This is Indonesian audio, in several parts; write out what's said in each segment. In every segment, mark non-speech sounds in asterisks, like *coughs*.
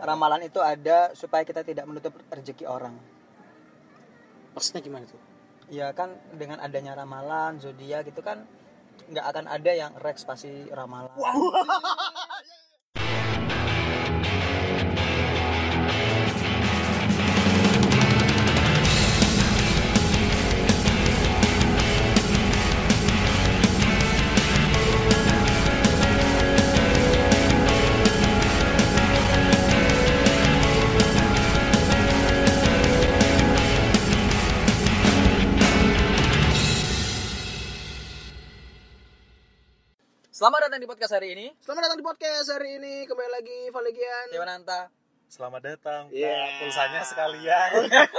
ramalan itu ada supaya kita tidak menutup rezeki orang. Maksudnya gimana tuh? Ya kan dengan adanya ramalan, zodiak gitu kan nggak akan ada yang Rex pasti ramalan. Selamat datang di podcast hari ini. Selamat datang di podcast hari ini kembali lagi Valegian. Dewananta. Selamat datang. Pak. Iya. Ya, Pulsanya sekalian.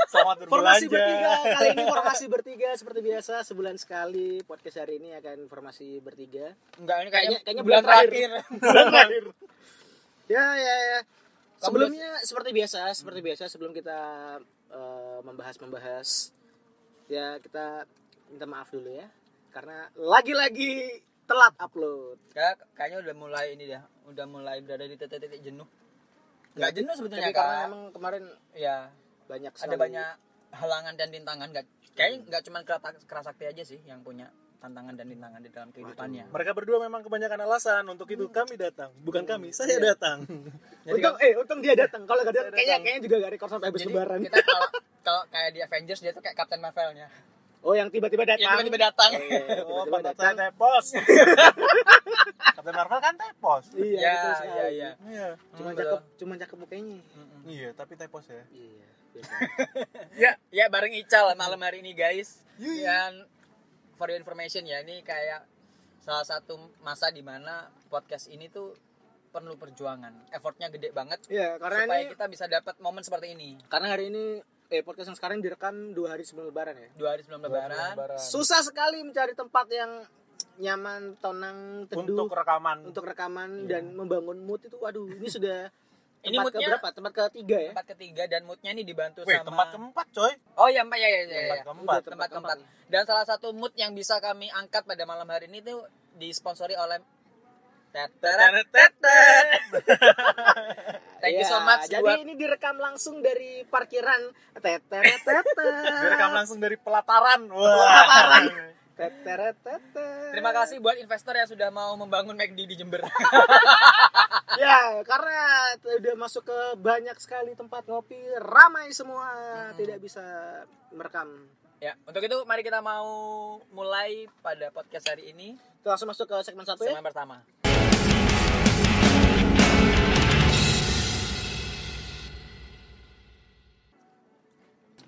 Selamat Formasi bertiga berbelanja. kali *laughs* ini formasi bertiga seperti biasa sebulan sekali podcast hari ini akan formasi bertiga. Enggak, ini Kayaknya- kayaknya, kayaknya bulan bulan terakhir. terakhir. *laughs* Ya ya ya. Kamu Sebelumnya seperti biasa, seperti biasa sebelum kita membahas membahas ya kita minta maaf dulu ya karena lagi-lagi telat upload. Kayak- Ya, kayaknya udah mulai ini dah, udah mulai berada di titik-titik jenuh. Enggak jenuh sebetulnya Tapi karena kan. memang kemarin Ya, banyak ada sekali- banyak halangan dan rintangan enggak kayaknya enggak cuma kerasakti aja sih yang punya tantangan dan rintangan di dalam kehidupannya. Mereka berdua memang kebanyakan alasan untuk itu kami datang, bukan kami, saya datang. *laughs* Jadi untung eh untung dia datang. Kalau gak datang kayaknya Dia datang. kayaknya juga gak rekor sampai habis Jadi lebaran. kita kalau kalau kayak di Avengers dia tuh kayak Captain Marvelnya. Oh yang tiba-tiba datang. Yang tiba-tiba datang. *laughs* Oh, iya, tiba-tiba Oh, pantat datang. saya tepos. Captain Marvel kan tepos. Iya, Iya, betul sekali. iya, iya. Iya. Cuma Hmm, cakep, cuma cakep mukanya. Mm-mm. Iya, tapi tepos ya. Iya. Ya, ya bareng Ical malam hari ini guys. Iya, Yui. Dan for your information ya, ini kayak salah satu masa di mana podcast ini tuh perlu perjuangan. Effortnya gede banget *laughs* Iya, karena supaya ini kita bisa dapat momen seperti ini. karena hari ini eh podcast yang sekarang direkam dua hari sebelum lebaran ya. Dua hari sebelum lebaran. Susah sekali mencari tempat yang nyaman, tenang, teduh Untuk untuk, Iya. rekaman. rekaman dan membangun mood itu. Waduh, ini sudah Ini tempat moodnya- keberapa? Tempat ketiga ya? Tempat ketiga dan moodnya ini dibantu Weh, sama tempat keempat, coy. Oh iya, Mbak, ya ya ya. Tempat ya. keempat. Udah, Tempat keempat. Dan salah satu mood yang bisa kami angkat pada malam hari ini tuh disponsori oleh Tetet. Tetet. Thank you Ya, so much Jadi buat- ini direkam langsung dari parkiran teteret Direkam *laughs* langsung dari pelataran. Pelataran. teteret Terima kasih buat investor yang sudah mau membangun McD di Jember. *laughs* Ya, karena udah masuk ke banyak sekali tempat ngopi, ramai semua, Hmm. tidak bisa merekam. ya, untuk itu mari kita mau mulai pada podcast hari ini. Kita langsung masuk ke segmen satu ya. Segmen pertama.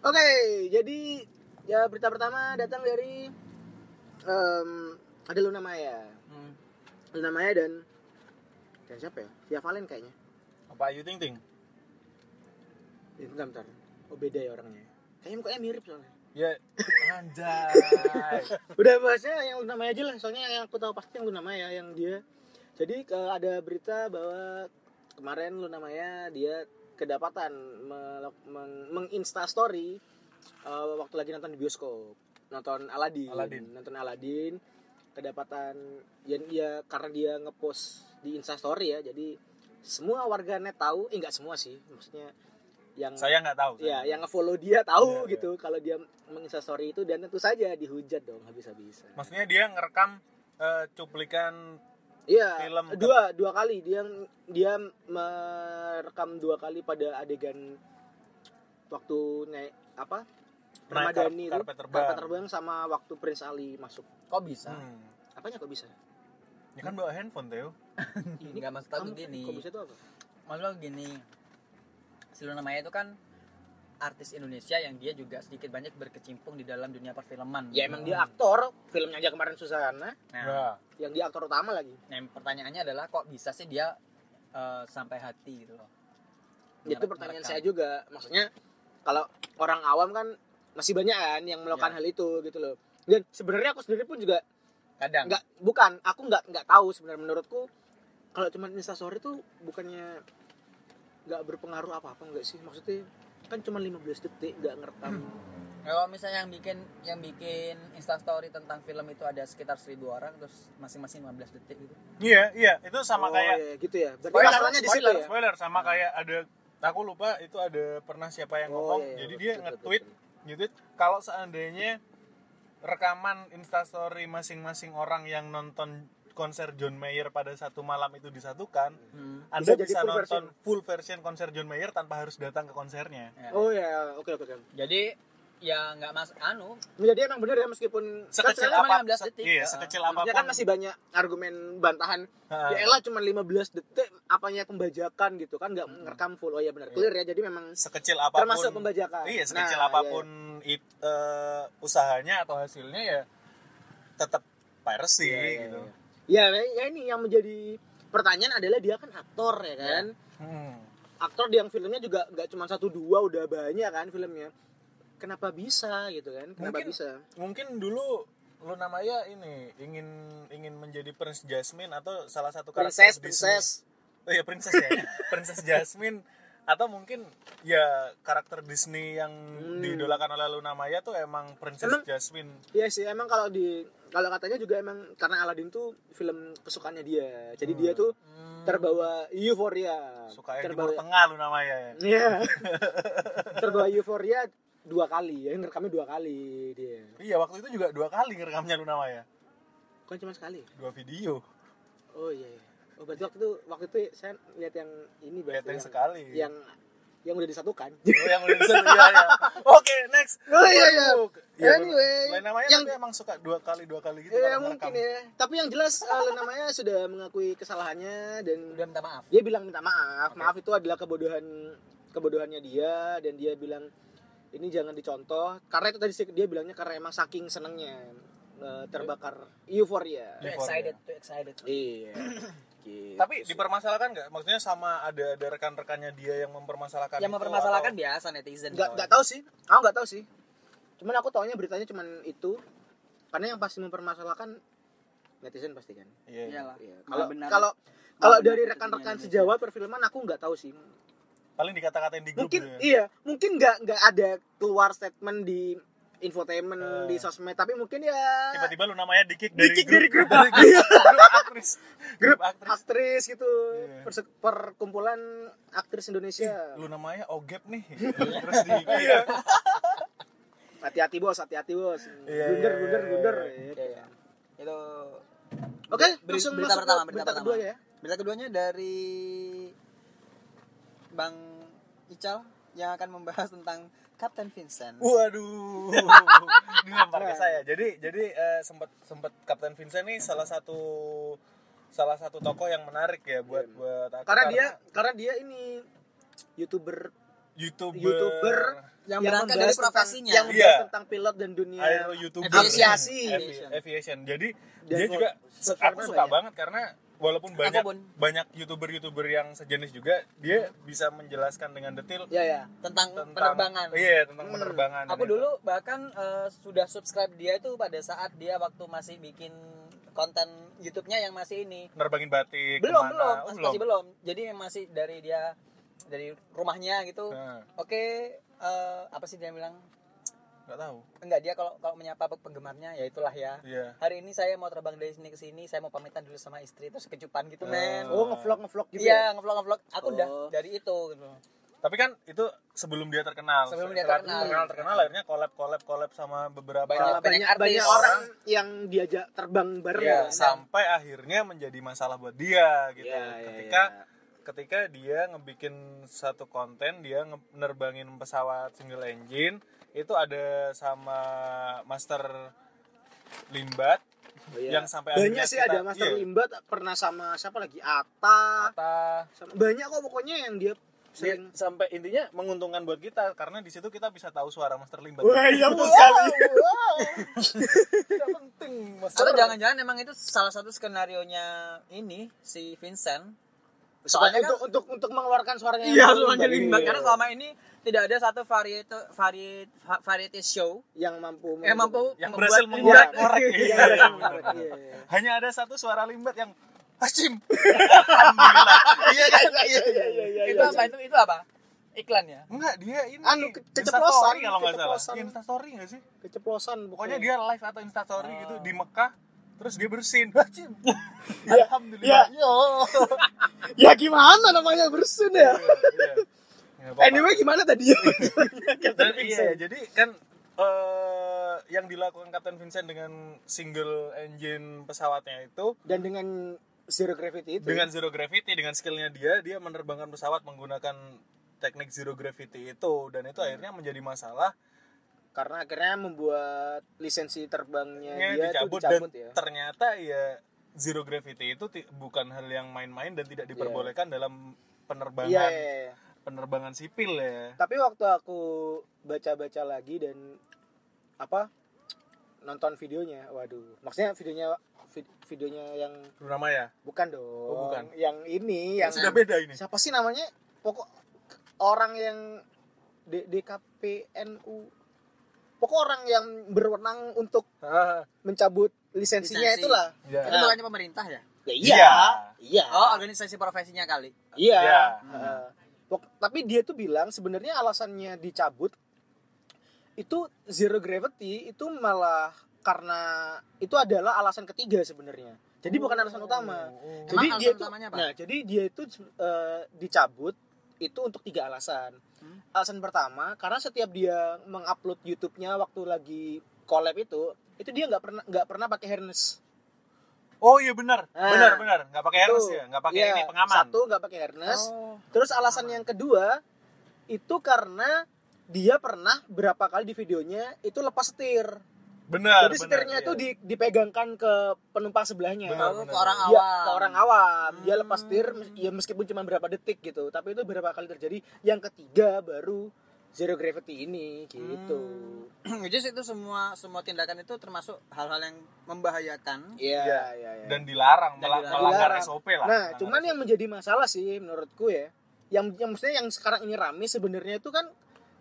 Oke, jadi ya berita pertama datang dari em, ada Luna Maya. Hmm. Luna Maya dan dan siapa ya? Via Valen kayaknya. Apa Ayu Ting Ting? Eh, Bentar, bentar. Oh beda ya orangnya. Kayaknya mukanya mirip soalnya. Ya, anjay. Udah bahasnya yang Luna Maya aja lah, soalnya yang aku tahu pasti yang Luna Maya yang dia. Jadi ke- ada berita bahwa kemarin Luna Maya dia kedapatan melak- men- menginstastory eh, waktu lagi nonton di bioskop, nonton Aladin, Aladdin. nonton Aladin kedapatan ya, ya karena dia ngepost di instastory ya jadi semua warganet tahu eh nggak semua sih maksudnya yang Saya nggak tahu. saya ya nggak yang ngefollow dia tahu Iya, gitu kalau dia menginstastory itu dan tentu saja dihujat dong habis-habisan Maksudnya dia ngerekam eh, cuplikan Iya. Film. Dua dua kali dia dia merekam dua kali pada adegan waktu naik apa? naik Ramadhani kar- itu. karpet terbang. Karpet terbang sama waktu Prince Ali masuk. Kok bisa? Hmm. Apanya kok *laughs* bisa? Ya kan bawa handphone Teo. Ini nggak maksud aku Kamu- gini. Kok bisa itu apa? Maksud aku gini. Si Luna Maya itu kan artis Indonesia yang dia juga sedikit banyak berkecimpung di dalam dunia perfilman. Hmm. Ya emang dia aktor, filmnya aja kemarin Susana, Nah, yang dia aktor utama lagi. nah, yang pertanyaannya adalah kok bisa sih dia eh, sampai hati gitu loh. itu pertanyaan saya juga. Maksudnya kalau orang awam kan masih banyak kan yang Ya. melakukan hal itu gitu loh. Dan sebenarnya aku sendiri pun juga Kadang. nggak bukan aku nggak nggak tahu sebenarnya menurutku kalau cuma instastory tuh bukannya nggak berpengaruh apa apa nggak sih maksudnya kan cuma 15 detik nggak ngerekam Kalau misalnya yang bikin yang bikin instastory tentang film itu ada sekitar 1000 orang terus masing-masing 15 detik gitu. Iya, iya, itu sama Oh, kayak iya, gitu ya berarti Spoiler, masalahnya di situ spoiler, ya spoiler sama Hmm. kayak ada Nah, aku lupa itu ada pernah siapa yang Oh, iya, ngomong. iya, Jadi betul, dia betul, nge-tweet, nge-tweet kalau seandainya rekaman instastory masing-masing orang yang nonton konser John Mayer pada satu malam itu disatukan, Hmm. jadi Anda bisa full nonton full version konser John Mayer tanpa harus datang ke konsernya. Ya. Oh ya, oke oke. oke. Jadi ya nggak mas anu Jadi emang bener ya meskipun Sekecil cuma apa? 15 detik. Iya, Heeh. sekecil Maksudnya apapun. kan masih banyak argumen bantahan. Heeh. Ya elah cuma 15 detik apanya pembajakan gitu kan nggak ngerekam full. Oh ya benar, clear ya. Jadi memang sekecil Hmm. Iya. apapun termasuk pembajakan. Iya, sekecil Nah, apapun it- eh, usahanya atau hasilnya ya tetap piracy Iya, iya, gitu. iya. Ya, ya ini yang menjadi pertanyaan adalah dia kan aktor ya kan. Hmm. Aktor di yang filmnya juga nggak cuma satu dua udah banyak kan filmnya. Kenapa bisa gitu kan? Kenapa Mungkin- bisa? Mungkin dulu lu namanya ini ingin ingin menjadi Prince Jasmine atau salah satu karakter Princess, Disney. princess. Oh iya, princess *laughs* ya. princess Jasmine atau mungkin ya karakter Disney yang Hmm. diidolakan oleh Luna Maya tuh emang Princess Emang- Jasmine. Iya sih, emang kalau di kalau katanya juga emang karena Aladdin tuh film kesukaannya dia. Jadi Hmm. dia tuh Hmm. terbawa euforia. Suka yang Timur terbawa Tengah Luna Maya ya. Iya. *laughs* terbawa euforia dua kali ya, ngerekamnya dua kali dia. Iya, waktu itu juga dua kali ngerekamnya Luna Maya. Kan cuma sekali. Dua video. Oh iya. iya. Oh berarti waktu itu waktu itu saya lihat yang ini berarti yang- Kelihatannya Iya, sekali. yang yang udah disatukan. Oh, yang udah bisa ya, ya. Oke, next. Oh iya iya. Waduh. Ya, anyway, Lena Maya yang- tapi emang suka dua kali dua kali gitu. Ya kalau mungkin ngerekam. ya. Tapi yang jelas eh, Lena Maya sudah mengakui kesalahannya dan udah minta maaf. dia bilang minta maaf. Maaf itu adalah kebodohan kebodohannya dia dan dia bilang ini jangan dicontoh karena itu tadi sih dia bilangnya karena emang saking senengnya eh, terbakar euforia. Too Euforia. excited, too excited. *clears throat* Iya. Gitu Tapi sih. dipermasalahkan nggak? Maksudnya sama ada ada rekan-rekannya dia yang mempermasalahkan. Yang itu mempermasalahkan atau- biasa netizen. oh. nggak coy. nggak tahu sih aku nggak tahu sih cuman aku taunya beritanya cuman itu karena yang pasti mempermasalahkan netizen pasti kan Iya. iya. Iyalah. Iya. Malah kalau benar. kalau kalau benar dari itu rekan-rekan dunia sejawat perfilman aku nggak tahu sih Iya, Paling dikata-katain di grup. mungkin gitu ya. iya mungkin nggak nggak ada keluar statement di infotainment Eh. di sosmed tapi mungkin ya tiba-tiba Luna Maya dikick dari dikik grup. dari grup *laughs* dari grup, grup aktris. Grup aktris. aktris gitu Iya. Perse- perkumpulan aktris Indonesia Luna Maya ogep nih. *laughs* Terus di iya. hati-hati bos hati-hati bos Iya, blunder iya, blunder iya, blunder iya. Iya, iya. Itu oke Beri- langsung berita masuk ke pertama, berita pertama. kedua ya berita keduanya dari Bang Ical yang akan membahas tentang Captain Vincent. Uh, Waduh. *laughs* Dilempar ke saya. Jadi jadi eh, sempat sempat Kapten Vincent nih salah satu salah satu tokoh yang menarik ya buat Iya. buat aku karena dia karena dia ini youtuber youtuber, YouTuber. yang, berangkat dari membahas tentang- profesinya. yang Iya. membahas tentang pilot dan dunia aero Iya. youtuber Aviasi. Avi- aviation jadi Dan dia kok juga aku subscribernya suka banyak. banget karena walaupun banyak pun. banyak youtuber youtuber yang sejenis juga dia bisa menjelaskan dengan detail ya ya tentang, tentang penerbangan. iya tentang Hmm. penerbangan Aku dulu bahkan eh, sudah subscribe dia itu pada saat dia waktu masih bikin konten YouTube-nya yang masih ini. nerbangin batik Belum, kemana. belum, Oh, masih, masih belum. Jadi yang masih dari dia dari rumahnya gitu. Nah, Oke, eh, apa sih dia bilang? nggak tahu Enggak, dia kalau kalau menyapa penggemarnya ya itulah ya. iya Hari ini saya mau terbang dari sini ke sini, saya mau pamitan dulu sama istri terus kecupan gitu, Ah. men. oh ngevlog ngevlog gitu Iya, ya ngevlog ngevlog. Aku udah Oh. dari itu gitu. tapi kan itu sebelum dia terkenal Sebelum dia Setelah terkenal. terkenal terkenal akhirnya collab collab collab sama beberapa Banyak- Malah banyak banyak, artis. orang yang diajak terbang bareng Iya, kan? sampai akhirnya menjadi masalah buat dia gitu Iya, iya, ketika iya. ketika dia ngebikin satu konten dia nge- nerbangin pesawat single engine itu ada sama master limbat Oh, iya. yang sampai banyak akhirnya sih kita- ada Master iya. Limbat pernah sama siapa lagi Ata Kata- sama- banyak kok pokoknya yang dia Iya. dia sering sampai intinya menguntungkan buat kita karena di situ kita bisa tahu suara master limbat wah iya betul sekali tidak penting master Atau jangan-jangan emang itu salah satu skenario nya ini si Vincent soalnya Soalnya untuk untuk untuk mengeluarkan suaranya Iya, yang- semuanya limbah. Iya. Karena selama ini tidak ada satu variety variety variety show yang Eh, mampu yang mampu yang membuat berhasil limbah. *laughs* mengorek-ngorek Iya, Iya, iya, benar, benar. iya, iya. hanya ada satu suara limbat yang *laughs* Hashim Alhamdulillah iya kan iya iya iya iya Itu apa itu? Itu apa? Iklan ya. Enggak, dia ini Anu, ke- keceplosan, Instastory kalau nggak salah. keceplosan. Iya, Instastory nggak sih? keceplosan Pokoknya dia dia live atau Instastory Ah. gitu di Mekah, terus dia bersin. *laughs* Hacim. *laughs* Iya, Alhamdulillah. Ya gimana namanya bersin ya? Iya, iya. Anyway gimana tadi? Dan Captain iya, Vincent. jadi kan eh, yang dilakukan Captain Vincent dengan single engine pesawatnya itu *laughs* Dan dengan zero gravity itu. ya. dengan zero gravity dengan skillnya dia dia menerbangkan pesawat menggunakan teknik zero gravity itu dan Hmm. itu akhirnya menjadi masalah karena akhirnya membuat lisensi terbangnya Iya, Ya, dia dicabut, tuh dicabut ya. ternyata ya zero gravity itu ti- bukan hal yang main-main dan tidak diperbolehkan dalam penerbangan Iya, iya, iya. penerbangan sipil ya tapi waktu aku baca-baca lagi dan apa nonton videonya, waduh, maksudnya videonya vid- videonya yang nama ya bukan dong, Oh, bukan. yang ini yang sudah beda ini siapa sih namanya pokok orang yang D- DKPNU pokok orang yang berwenang untuk Ah, mencabut lisensinya Lisensi. itulah ya. Itu bukannya pemerintah ya? ya, Iya. iya Oh, organisasi profesinya kali. Iya. Iya. Heeh. Pok- tapi dia tuh bilang sebenarnya alasannya dicabut itu zero gravity itu malah karena itu adalah alasan ketiga sebenarnya. Jadi bukan alasan utama. Oh, oh. Jadi Emang dia alasan itu utamanya apa? Nah, jadi dia itu eh, dicabut itu untuk tiga alasan. Hmm. Alasan pertama karena setiap dia mengupload YouTube-nya waktu lagi collab itu itu dia nggak pernah nggak pernah pakai harness. Oh iya benar, Ah, benar benar, nggak pakai harness Itu. ya, nggak pakai Iya, ini pengaman. Satu nggak pakai harness. Oh. Terus alasan yang kedua itu karena dia pernah berapa kali di videonya itu lepas setir. Benar. Jadi benar, setirnya iya. itu di- dipegangkan ke penumpang sebelahnya. Benar, Oh, ke benar. orang Dia- awam. Iya, ke orang awam. Dia Hmm. lepas setir mes- ya meskipun cuma berapa detik gitu, tapi itu berapa kali terjadi. Yang ketiga baru zero gravity ini gitu. *clears throat* Hmm. Which is itu semua semua tindakan itu termasuk hal-hal yang membahayakan. Iya, Iya. iya, iya. dan dilarang, Dan mela- dilarang. melanggar Dilarang. SOP lah. Nah, Melanggar cuman SOP. yang menjadi masalah sih menurutku ya, yang yang maksudnya yang sekarang ini rame sebenarnya itu kan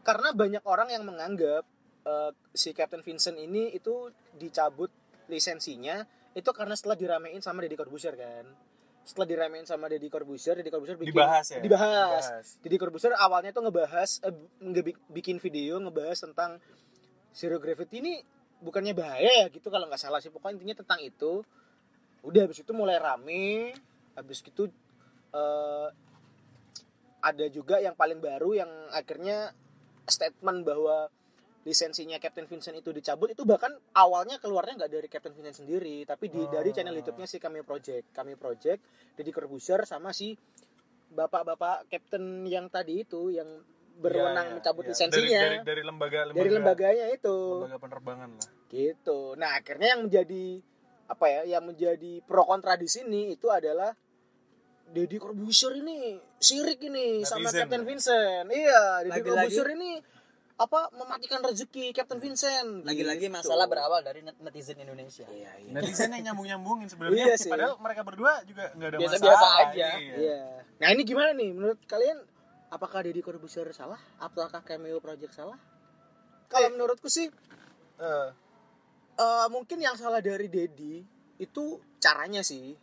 karena banyak orang yang menganggap eh, si Captain Vincent ini itu dicabut lisensinya itu karena setelah diramein sama Deddy Corbuzier kan. Setelah diramein sama Deddy Corbuzier, Deddy Corbuzier bikin dibahas ya. dibahas. Deddy Corbuzier awalnya tuh ngebahas eh, nge- bikin video ngebahas tentang zero gravity ini bukannya bahaya ya gitu kalau nggak salah sih pokoknya intinya tentang itu udah habis itu mulai rame habis itu eh, ada juga yang paling baru yang akhirnya statement bahwa lisensinya Captain Vincent itu dicabut itu bahkan awalnya keluarnya nggak dari Captain Vincent sendiri tapi di- dari channel YouTube-nya si Cameo Project Cameo Project Deddy Corbuzier sama si bapak-bapak Captain yang tadi itu yang berwenang Iya, iya, mencabut iya. lisensinya Dari, dari, dari lembaga dari, lembaga, lembaganya itu lembaga penerbangan lah. gitu nah akhirnya yang menjadi apa ya yang menjadi pro kontra di sini itu adalah Deddy Corbuzier ini sirik ini sama Netizen, Captain ya? Vincent iya Deddy Lagi-lagi- Iya. Corbuzier ini apa mematikan rezeki Captain Vincent Lagi-lagi gitu. masalah berawal dari net- netizen Indonesia. Nah, iya iya Netizen yang nyambung nyambungin sebenarnya. Iya sih. Padahal mereka berdua juga nggak ada Biasa-biasa masalah. aja. Iya. Iya. nah ini gimana nih menurut kalian apakah Deddy Corbuzier salah apakah Cameo Project salah kalau menurutku sih Eh, Eh, mungkin yang salah dari Dedi itu caranya sih.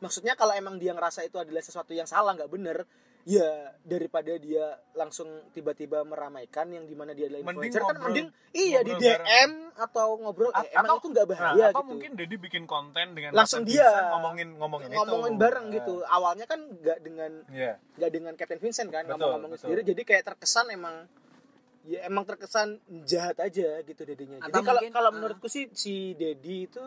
Maksudnya kalau emang dia ngerasa itu adalah sesuatu yang salah nggak bener, ya daripada dia langsung tiba-tiba meramaikan yang dimana dia adalah Mending influencer kan ngobrol- mending iya di ngobrol DM bareng. atau ngobrol A- eh, emang atau- itu nggak nah, bahaya apa gitu. mungkin Dedi bikin konten dengan Langsung Captain dia. Vincent ngomongin ngomongin itu. Nah. ngomongin bareng gitu. Awalnya kan nggak dengan Iya. nggak dengan Captain Vincent kan Betul, ngomong-ngomongin betul. sendiri jadi kayak terkesan emang ya emang terkesan jahat aja gitu dedinya jadi Atau kalau mungkin, kalau ah. menurutku sih si Dedi itu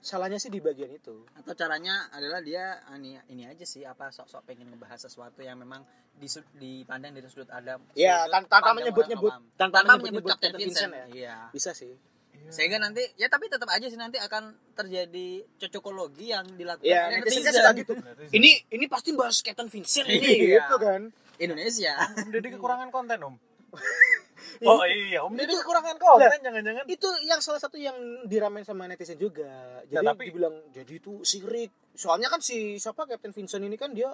salahnya sih di bagian itu Atau caranya adalah dia ah, ini ini aja sih apa sok-sok pengen ngebahas sesuatu yang memang disu- dipandang dari sudut ada ya sudut tan- tanpa pandang menyebut-nyebut orang awam. tanpa, tanpa menyebut menyebut-nyebut Captain Vincent, ya Iya. bisa sih Iya. Sehingga nanti ya tapi tetap aja sih nanti akan terjadi cocokologi yang dilakukan ya oleh Iya, netizen kan netizen. suka gitu Netizen. ini ini pasti bahas Captain *laughs* Vincent ini Iya. gitu kan Indonesia. Om Dedi kekurangan konten om. Ini- Oh iya, Om Dedi Itu- kekurangan konten, jangan-jangan. itu yang salah satu yang diramen sama netizen juga Ya, jadi tapi- dibilang jadi itu sirik soalnya kan si siapa Captain Vincent ini kan dia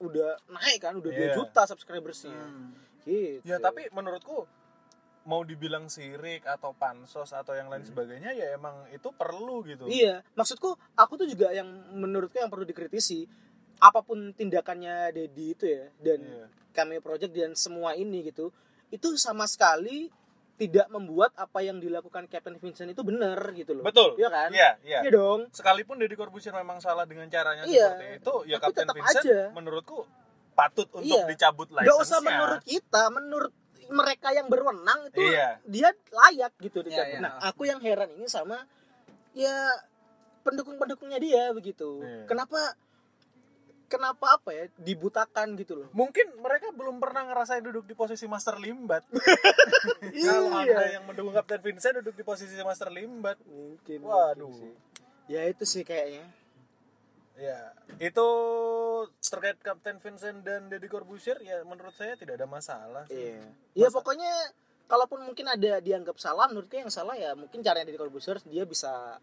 udah naik kan udah Iya. 2 juta subscribersnya Hmm. gitu Ya tapi menurutku mau dibilang sirik atau pansos atau yang lain sebagainya ya emang itu perlu gitu. Hmm. iya maksudku aku tuh juga yang menurutku yang perlu dikritisi apapun tindakannya Dedi itu ya dan Iya. kami project dan semua ini gitu itu sama sekali tidak membuat apa yang dilakukan Captain Vincent itu benar gitu loh Betul. Iya kan? Iya, iya. Iya dong Sekalipun Deddy Corbuzier memang salah dengan caranya Iya. seperti itu, ya Tapi Kapten tetap Vincent aja. menurutku patut untuk Iya. dicabut license Gak usah menurut kita, menurut mereka yang berwenang itu Iya. dia layak gitu Iya, dicabut. iya. Nah, aku yang heran ini sama ya pendukung-pendukungnya dia begitu. Iya. Kenapa kenapa apa ya dibutakan gitu loh. Mungkin mereka belum pernah ngerasain duduk di posisi Master Limbat. Kalau Anda yang mendukung Kapten Vincent duduk di posisi Master Limbat. Mungkin. Waduh. mungkin sih. Ya itu sih kayaknya. Ya, itu terkait Kapten Vincent dan Deddy Corbuzier ya menurut saya tidak ada masalah. Iya. Ya pokoknya kalaupun mungkin ada dianggap salah menurutku yang salah ya mungkin caranya dari Corbuzier dia bisa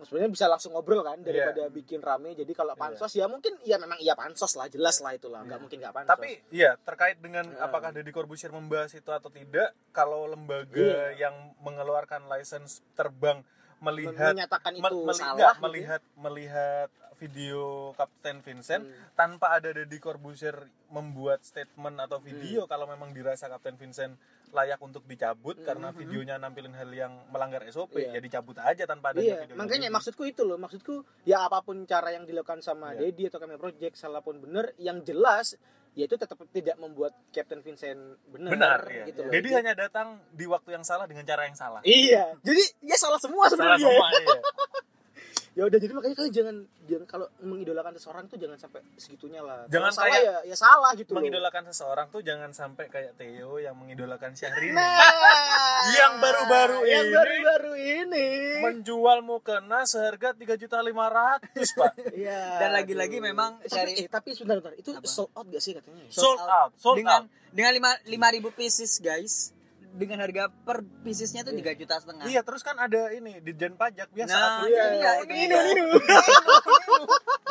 sebenarnya bisa langsung ngobrol kan Iya. daripada bikin rame. Jadi kalau pansos ya mungkin ya memang iya pansos lah jelas lah itulah nggak Iya. mungkin nggak pansos. Tapi iya terkait dengan Heeh. apakah Deddy Corbuzier membahas itu atau tidak, kalau lembaga yang mengeluarkan license terbang Men- melihat menyatakan me- itu meli- salah enggak, gitu. melihat melihat video Kapten Vincent Hmm. tanpa ada Deddy Corbuzier membuat statement atau Hmm. video kalau memang dirasa Kapten Vincent layak untuk dicabut Hmm, karena hmm, videonya nampilin hal yang melanggar SOP Iya. ya dicabut aja tanpa ada Iya, makanya maksudku itu loh, maksudku ya apapun cara yang dilakukan sama Iya. Dedi atau Kami Project salah pun bener, yang jelas yaitu tetap tidak membuat Captain Vincent bener, benar ya. gitu loh. Deddy hanya datang di waktu yang salah dengan cara yang salah. Iya, jadi ya salah semua Salah sebenarnya. semua *laughs* iya. ya udah jadi makanya kalian jangan jangan kalau mengidolakan seseorang tuh jangan sampai segitunya lah Jangan Kalau salah kayak ya ya salah gitu loh. mengidolakan seseorang tuh jangan sampai kayak Theo yang mengidolakan Syahrini nah *laughs* Yang baru-baru yang ini. baru-baru ini menjual mukena seharga 3.500.000 Pak. *laughs* Iya, Dan lagi-lagi aduh. memang Eh, tapi, cari- eh, tapi sebentar bentar itu Apa? sold out gak sih katanya ya? Sold out, sold dengan out. dengan lima lima ribu pieces guys dengan harga per piecesnya tuh tiga juta Nah. setengah Iya, terus kan ada ini Dijen Pajak biasa Nah, aku iya, iya, ini iya. ini ini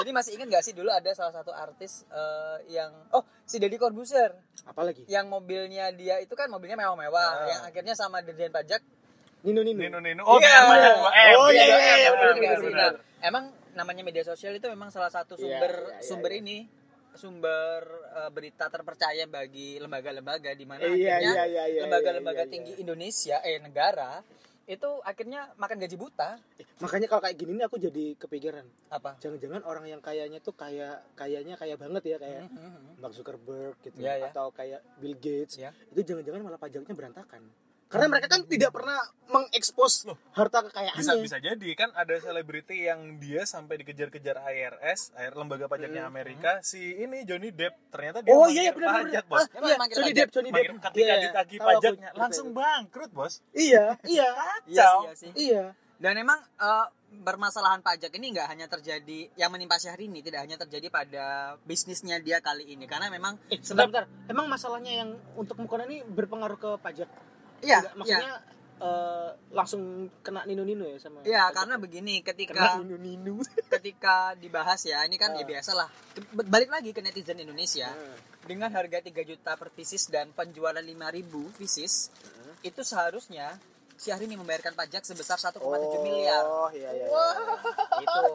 jadi masih ingat gak sih dulu ada salah satu artis eh, yang oh si Deddy Corbuzier apalagi yang mobilnya dia itu kan mobilnya mewah-mewah Ah. yang akhirnya sama Dirjen Pajak Nino Nino Nino Nino. Oh, Iya. Dijen Pajak, Pak. Eh, Oh, iya, benar, iya, iya, benar, benar, benar, benar. benar. emang namanya media sosial itu memang salah satu Iya, sumber iya, iya, sumber iya. ini sumber eh, berita terpercaya bagi lembaga-lembaga di mana iya akhirnya iya iya iya lembaga-lembaga iya, iya. tinggi Indonesia eh negara itu akhirnya makan gaji buta Eh, makanya kalau kayak gini nih aku jadi kepikiran apa jangan-jangan orang yang kayanya tuh kayak kayanya kayak banget ya kayak Mhm. Mark Zuckerberg gitu Iya, iya. atau kayak Bill Gates Iya. itu jangan-jangan malah pajaknya berantakan karena mereka kan tidak pernah mengekspos Loh. harta kekayaannya Bisa bisa jadi kan ada selebriti yang dia sampai dikejar-kejar IRS, air lembaga pajaknya Hmm. Amerika. Si ini Johnny Depp ternyata dia oh iya iya mangkir benar benar pajak, Bos. ah, Emang iya manggil Johnny pajak? Depp Johnny Depp Mangkir- ketika Iya, iya. ditagih Tahu aku, pajaknya tahu langsung aku. bangkrut, Bos. iya iya Iya sih, Kacau. iya sih. iya Dan emang eh, bermasalahan pajak ini nggak hanya terjadi yang menimpa Syahrini tidak hanya terjadi pada bisnisnya dia kali ini karena memang eh sebentar bentar. emang masalahnya yang untuk mukona ini berpengaruh ke pajak iya Enggak, iya maksudnya eh, langsung kena nino nino ya sama Iya, pajak? karena begini kena ketika nino nino *laughs* ketika dibahas ya ini kan ya Ah. biasalah Ke- balik lagi ke netizen Ya. Indonesia Nah, dengan harga 3 juta per pieces dan penjualan 5000 pieces itu seharusnya Syahrini membayarkan pajak sebesar 1,7 miliar. oh iya iya, iya. gitu.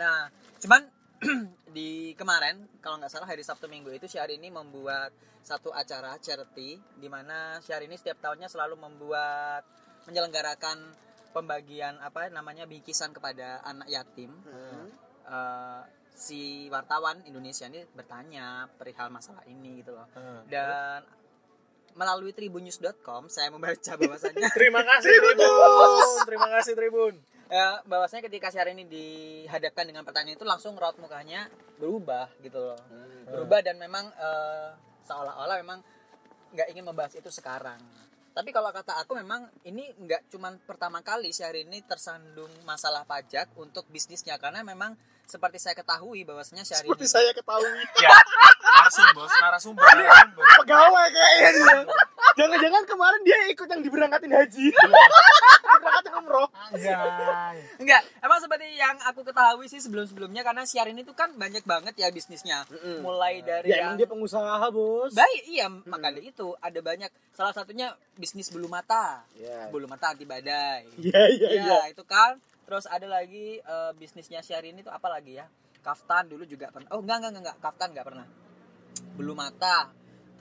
Nah, cuman *clears throat* di kemarin kalau nggak salah hari Sabtu Minggu itu Syahrini membuat satu acara charity di mana Syahrini setiap tahunnya selalu membuat menyelenggarakan pembagian apa namanya bingkisan kepada anak yatim. Hmm. Eh, si wartawan Indonesia ini bertanya perihal masalah ini gitu loh. Hmm. Dan melalui tribunnews.com saya membaca bahwasannya Terima kasih Tribun. Terima kasih Tribun. ya bahwasanya ketika Syahrini dihadapkan dengan pertanyaan itu langsung raut mukanya berubah gitu loh Hmm. berubah dan memang eh, seolah-olah memang nggak ingin membahas itu sekarang tapi kalau kata aku memang ini nggak cuman pertama kali Syahrini tersandung masalah pajak untuk bisnisnya karena memang seperti saya ketahui bahwasanya Syahrini seperti saya ketahui Ya, narasum bos, narasumber, Iya. narasumber. pegawai kayaknya dia. Jangan-jangan kemarin dia ikut yang diberangkatin *laughs* haji. Diberangkatin umroh. Anjay. Enggak, emang seperti yang aku ketahui sih sebelum-sebelumnya karena Syahrini itu kan banyak banget ya bisnisnya. Mm-mm. Mulai dari Ya emang yang- dia pengusaha bos. Baik, iya Hmm. makanya itu ada banyak. Salah satunya bisnis bulu mata, Iya. bulu mata anti badai. Iya iya Iya, iya. itu kan. Terus ada lagi eh, bisnisnya Syahrini itu apa lagi ya? Kaftan dulu juga pernah. Oh enggak enggak enggak, enggak. kaftan enggak pernah. Bulu mata.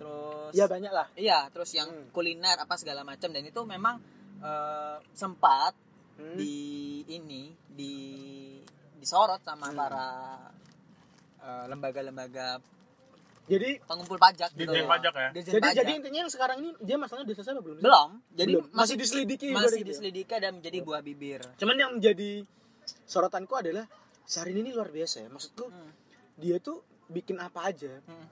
Terus Ya banyak lah. iya, terus yang Hmm. kuliner apa segala macam dan itu memang eh, sempat Di- di ini di disorot sama Hmm. para eh, lembaga-lembaga Jadi pengumpul pajak gitu. Ditjen loh. pajak ya? Ditjen jadi pajak. jadi intinya yang sekarang ini dia masalahnya udah selesai apa belum? sih? belum. Jadi Belum. masih masih diselidiki ibaratnya masih gitu ya. diselidiki dan menjadi buah bibir. Cuman yang menjadi sorotanku adalah Syahrini ini luar biasa ya. Maksudku Hmm. dia tuh bikin apa aja Hmm.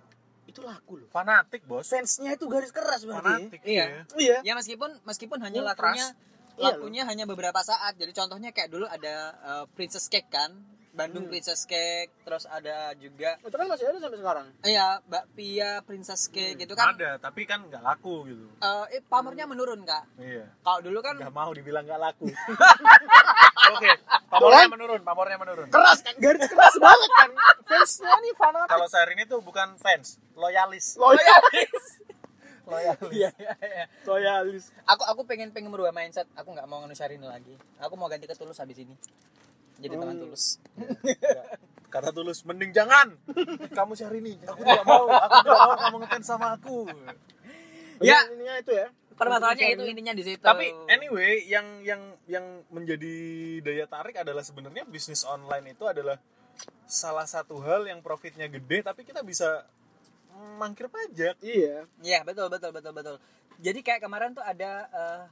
itu laku loh. Fanatik bos. Fansnya itu garis keras banget. Fanatik. Iya. Ya. dia. Iya. Ya meskipun meskipun hanya Ultras. lakunya Iya lakunya hanya beberapa saat. Jadi contohnya kayak dulu ada eh, Princess Cake kan, Bandung Hmm. Princess Cake, terus ada juga Itu kan masih ada sampai sekarang. Iya, Bakpia Princess Cake Hmm. gitu kan. Ada tapi kan nggak laku gitu. Eh, eh, pamornya menurun, Kak. Iya. Kalau dulu kan Nggak mau dibilang nggak *laughs* laku. Oke. Pamornya Kan? menurun. Pamornya menurun. Keras kan, garis keras banget kan. Fansnya nih Oh, fanatik. Kalau saya ini tuh bukan fans, loyalis. Oh, Loyalis. Iya, iya, iya. Loyalis. Aku aku pengen pengen merubah mindset. Aku nggak mau ngenusarin lagi. Aku mau ganti ke tulus habis ini. Jadi teman Oh. tulus. Kata tulus, mending jangan. Kamu sehari ini, aku tidak mau, aku tidak mau kamu ngefans sama aku. Ya. Ini- Ininya itu ya. Permasalahannya itu intinya di situ. Tapi anyway, yang yang yang menjadi daya tarik adalah sebenarnya bisnis online itu adalah salah satu hal yang profitnya gede, tapi kita bisa mangkir pajak. Iya. Iya betul betul betul betul. Jadi kayak kemarin tuh ada eh,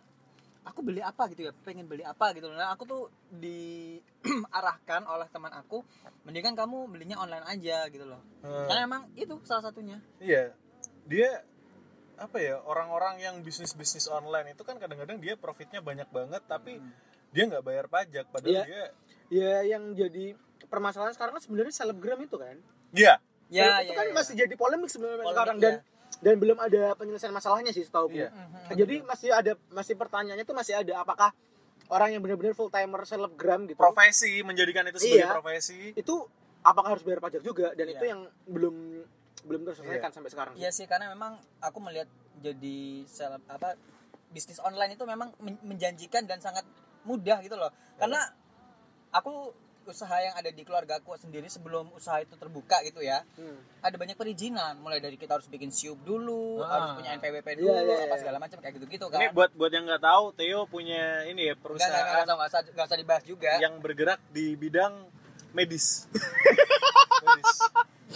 aku beli apa gitu ya, pengen beli apa gitu. Nah aku tuh *clears throat* diarahkan oleh teman aku, mendingan kamu belinya online aja gitu loh. Hmm, Karena emang itu salah satunya. Iya, dia apa ya orang-orang yang bisnis bisnis online itu kan kadang-kadang dia profitnya banyak banget, tapi dia nggak bayar pajak, padahal Iya. dia Ya yang jadi permasalahan sekarang kan sebenarnya selebgram itu kan. Iya, Ya, ya, itu kan ya. masih jadi polemik sebenarnya Polemik, sekarang ya. dan dan belum ada penyelesaian masalahnya sih setahu Nah, Iya. Mhm. Jadi masih ada masih pertanyaannya tuh masih ada apakah orang yang benar-benar full timer selebgram gitu profesi menjadikan itu sebagai Iya. profesi. itu apakah harus bayar pajak juga dan Iya. itu yang belum belum terselesaikan sampai sekarang. Iya sih karena memang aku melihat jadi seleb apa bisnis online itu memang men- menjanjikan dan sangat mudah gitu loh. Ya. Karena aku usaha yang ada di keluarga aku sendiri sebelum usaha itu terbuka gitu ya. Hmm. Ada banyak perizinan, mulai dari kita harus bikin siup dulu, Ah. harus punya NPWP dulu, Iya, iya, apa iya. segala macam kayak gitu-gitu kan. Ini buat buat yang nggak tahu, Theo punya ini ya Enggak enggak perusahaan usah, nggak ya. usah nggak usah dibahas juga. yang bergerak di bidang medis. medis.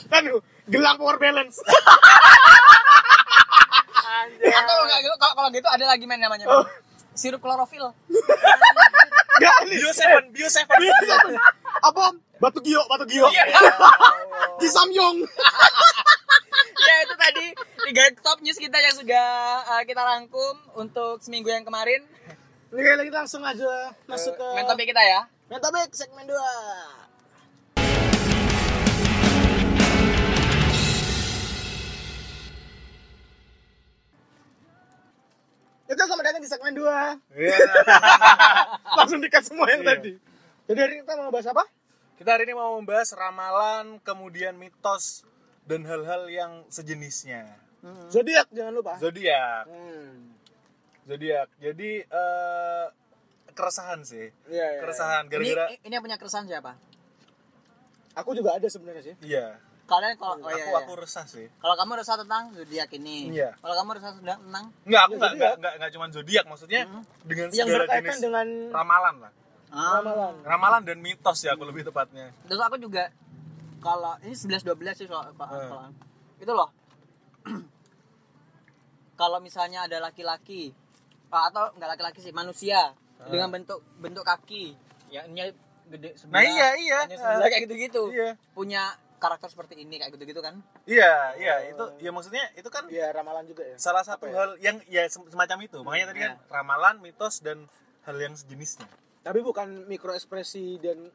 Aduh, gelang power balance. Atau nggak gitu, kalau kalau gitu ada lagi main namanya. Oh. Sirup klorofil. Enggak nih. Bio Seven, Bio Seven. Apa? Batu gio, batu gio. Iya. *laughs* Kisamyong. ya itu tadi tiga top news kita yang sudah uh, kita rangkum untuk seminggu yang kemarin Ini kayak kita langsung aja Eh, masuk ke main topik kita ya main topik segmen 2. Itu selamat datang di segmen *laughs* 2. Iya. Langsung dikat semua yang Iya. tadi. Jadi hari ini kita mau bahas apa? Kita hari ini mau membahas ramalan, kemudian mitos dan hal-hal yang sejenisnya. Zodiak jangan lupa. Zodiak, Hmm. zodiak. Jadi eh, keresahan sih, Iya, iya. keresahan ini, gara-gara ini yang punya keresahan siapa iya. Aku juga ada sebenarnya sih. iya. kalian kalau oh, aku iya, aku iya. resah sih. kalau kamu resah tentang zodiak ini Iya. kalau kamu resah tentang tentang Enggak, aku Ya, enggak zodiak. enggak enggak, enggak cuman zodiak maksudnya dengan Yang segala berkaitan jenis dengan ramalan lah. Ah. ramalan. Ramalan dan mitos ya aku lebih tepatnya. terus aku juga kalau ini 11 12 sih soal kalau- Hmm. kalau- itu loh *clears throat* kalau misalnya ada laki-laki ah, atau nggak laki-laki sih manusia Hmm. dengan bentuk bentuk kaki ya ini gede sebelah Nah, iya, iya. ini sebelah gitu. kayak gitu-gitu Iya. punya karakter seperti ini kayak gitu-gitu kan Iya, iya, itu ya maksudnya itu kan Ya ramalan juga ya. salah Oh. Apa satu ya? Iya. hal yang ya sem- semacam itu. Makanya tadi kan ramalan, mitos dan hal yang sejenisnya. Tapi bukan mikro ekspresi dan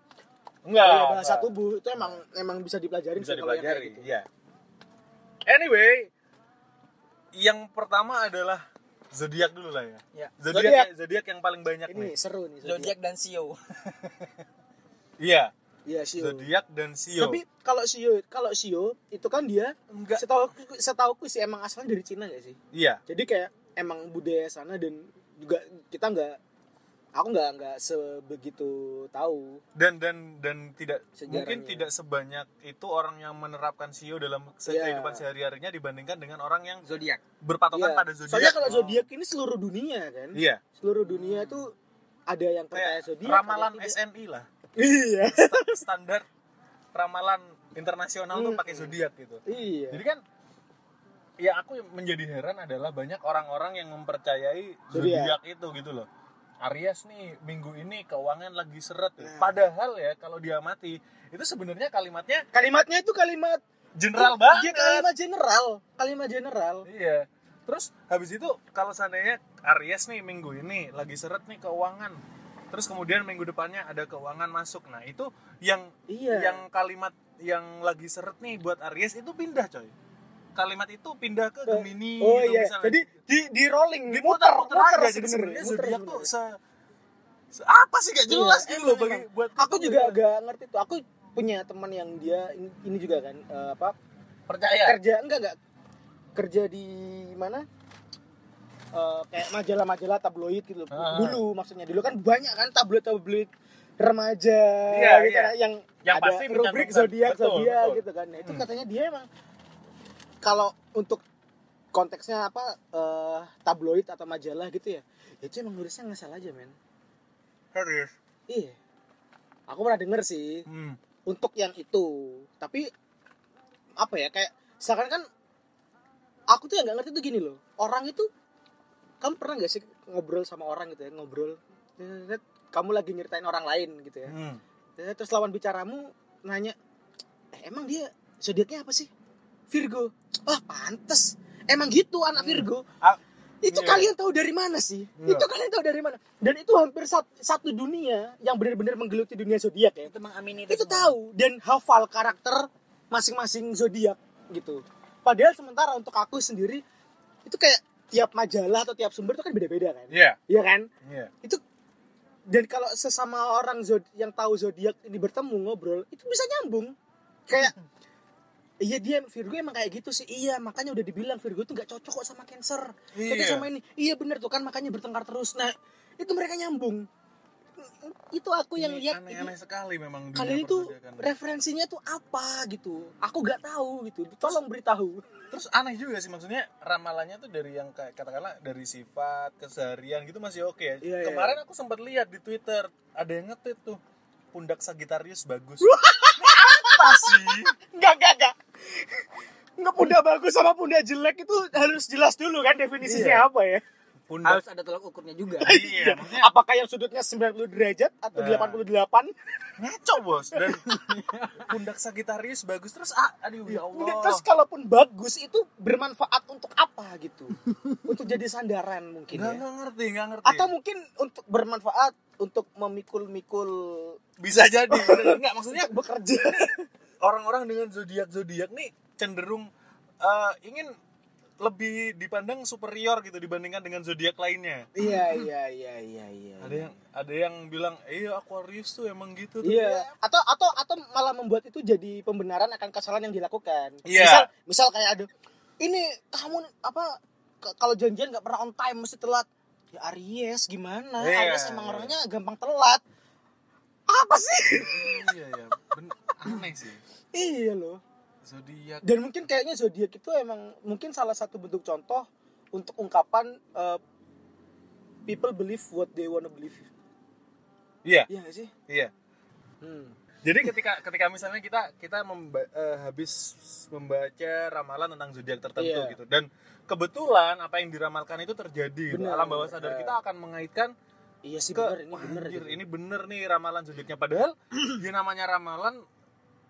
Enggak. gaya Oh, iya, bahasa tubuh itu emang emang bisa dipelajarin Iya, bisa sih kalau yang kayak dipelajari. gitu. Iya. Anyway, yang pertama adalah zodiak dulu lah ya. ya Zodiak. Zodiak zodiak yang paling banyak Iya. Ini nih. seru nih. zodiak dan sio Iya, Iya sio. zodiak dan sio. Tapi kalau sio kalau sio itu kan dia enggak setahu setauku sih emang asalnya dari Cina gak sih? iya. Jadi kayak emang budaya sana dan juga kita nggak aku nggak nggak sebegitu tahu. dan dan dan tidak Sejarahnya. mungkin tidak sebanyak itu orang yang menerapkan sio dalam se- Iya. kehidupan sehari-harinya dibandingkan dengan orang yang *laughs* zodiak berpatokan Iya. kan pada Oh. zodiak. Soalnya kalau zodiak ini seluruh dunia kan. iya, Seluruh dunia tuh ada yang percaya kayak zodiak. ramalan ada yang tidak. SNI lah. Iya. *laughs* Sta- Standar ramalan internasional tuh Hmm. pakai zodiak gitu. Iya. Jadi kan ya aku yang menjadi heran adalah banyak orang-orang yang mempercayai Zodiac. zodiak itu gitu loh. Aries nih minggu ini keuangan lagi seret. ya. Nah. Padahal ya kalau dia mati itu sebenarnya kalimatnya Kalimatnya itu kalimat general Dia banget. kalimat Iya, general, kalimat general. Iya. Terus habis itu kalau seandainya Aries nih minggu ini lagi seret nih keuangan. Terus kemudian minggu depannya ada keuangan masuk. Nah, itu yang Iya. yang kalimat yang lagi seret nih buat Aries itu pindah, coy. Kalimat itu pindah ke Gemini oh gitu iya. misalnya. Jadi di di rolling, diputar muter, putar muter aja gitu. jadi sebenarnya, sebenarnya muter zodiak tuh sebenarnya. se, se- apa sih gak jelas Iya, gitu loh emang, bagi buat Aku juga agak ngerti tuh. Aku punya teman yang dia ini ini juga kan eh, apa percaya kerja enggak enggak kerja di mana Eh, kayak majalah-majalah tabloid gitu loh. Ah. dulu maksudnya dulu kan banyak kan tabloid-tabloid remaja Iya, gitu iya. kan, yang Yang ada pasti rubrik mencantumkan. zodiak Betul, zodiak betul. gitu kan Nah, itu Hmm. katanya dia emang kalau untuk konteksnya apa eh, tabloid atau majalah gitu ya itu emang nulisnya ngasal aja men serius iya aku pernah denger sih hmm. untuk yang itu tapi apa ya kayak seakan kan aku tuh yang nggak ngerti tuh gini loh orang itu kamu pernah nggak sih ngobrol sama orang gitu ya ngobrol Tetet, kamu lagi nyeritain orang lain gitu ya Hmm. Tetet, terus lawan bicaramu nanya "Eh, emang dia zodiaknya apa sih Virgo wah pantes emang gitu anak Hmm. Virgo Ah, itu iya. kalian tahu dari mana sih Iya. itu kalian tahu dari mana dan itu hampir sat- satu dunia yang benar-benar menggeluti dunia zodiak ya itu mengamini itu semua. tahu dan hafal karakter masing-masing zodiak gitu. Padahal sementara untuk aku sendiri itu kayak tiap majalah atau tiap sumber itu kan beda-beda kan. iya Iya kan? iya Dan kalau sesama orang zod yang tahu zodiak ini bertemu ngobrol, itu bisa nyambung. *laughs* Kayak Iya dia Virgo emang kayak gitu sih. Iya, makanya udah dibilang Virgo tuh nggak cocok kok sama Cancer. Cocok Iya. sama ini. Iya bener tuh kan makanya bertengkar terus. Nah, itu mereka nyambung. Itu aku yang Ini lihat ini- Iya, aneh-aneh sekali memang dunia kalian itu perzodakan. referensinya tuh apa gitu aku nggak tahu gitu tolong beritahu terus aneh juga sih maksudnya ramalannya tuh dari yang kayak katakanlah dari sifat keseharian gitu masih oke ya Iya, iya. kemarin aku sempat lihat di twitter ada yang nge-tweet tuh pundak Sagittarius bagus apa sih *laughs* nggak nggak nggak nggak bunda bagus sama bunda jelek itu harus jelas dulu kan definisinya Iya. apa ya pundak harus ada tolak ukurnya juga *laughs* *laughs* iya maksudnya apakah yang sudutnya 90 derajat atau Nah. 88 ngaco bos *laughs* dan pundak Sagittarius bagus terus ah, aduh ya Bunda, Allah terus kalaupun bagus itu bermanfaat untuk apa *laughs* gitu untuk jadi sandaran mungkin nggak ya nggak ngerti nggak ngerti atau mungkin untuk bermanfaat untuk memikul-mikul bisa jadi nggak maksudnya untuk bekerja orang-orang dengan zodiak zodiak nih cenderung eh, ingin lebih dipandang superior gitu dibandingkan dengan zodiak lainnya *laughs* iya iya iya iya iya ada yang ada yang bilang iya Aquarius tuh emang gitu tuh." Iya. Atau atau atau malah membuat itu jadi pembenaran akan kesalahan yang dilakukan. Iya. Misal misal kayak ada ini kamu apa ke- kalau janjian nggak pernah on time mesti telat. Ya Aries gimana? Iya. Aries emang orangnya gampang telat. Apa sih? *laughs* iya ya ben- aneh sih iya loh. zodiak Dan mungkin kayaknya zodiak itu emang mungkin salah satu bentuk contoh untuk ungkapan eh, people believe what they wanna believe. iya Iya gak sih? iya Hmm. Jadi ketika ketika misalnya kita kita memba- eh, habis membaca ramalan tentang zodiak tertentu Iya. gitu dan kebetulan apa yang diramalkan itu terjadi gitu. Benar, alam bawah sadar benar. kita akan mengaitkan Iya sih ke bener, ini "Wah, bener. anjir, gitu. ini bener nih ramalan zodiaknya padahal ya namanya ramalan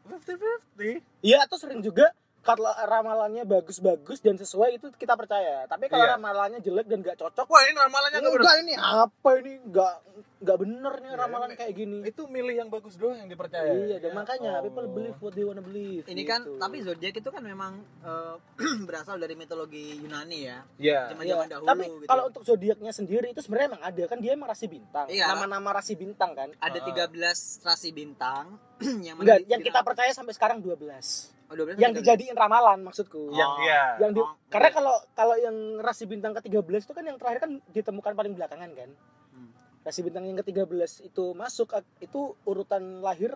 50-50. Iya atau sering juga kalau ramalannya bagus-bagus dan sesuai itu kita percaya. Tapi kalau Iya. ramalannya jelek dan nggak cocok, Wah, ini ramalannya nggak bener. enggak ini apa ini nggak nggak bener nih Iya, ramalan ini- kayak gini. Itu milih yang bagus doang yang dipercaya. Iya, dan Ya makanya Allah. people believe what they wanna believe. ini kan gitu. tapi zodiak itu kan memang eh, *clears throat* berasal dari mitologi Yunani ya Iya. zaman Iya, zaman dahulu tapi gitu. kalau untuk zodiaknya sendiri itu sebenarnya emang ada kan dia emang rasi bintang. Iya. Nama-nama rasi bintang kan. ada Ah. 13 rasi bintang *clears throat* yang mana Enggak, di- yang di- kita percaya sampai sekarang 12. oh, 12 Yang atau 13? dijadiin ramalan maksudku. Yang Oh. iya. Yang di- Oh, karena iya. kalau kalau yang rasi bintang ke-13 itu kan yang terakhir kan ditemukan paling belakangan kan. Hmm. Rasi bintang yang ke-13 itu masuk ak- itu urutan lahir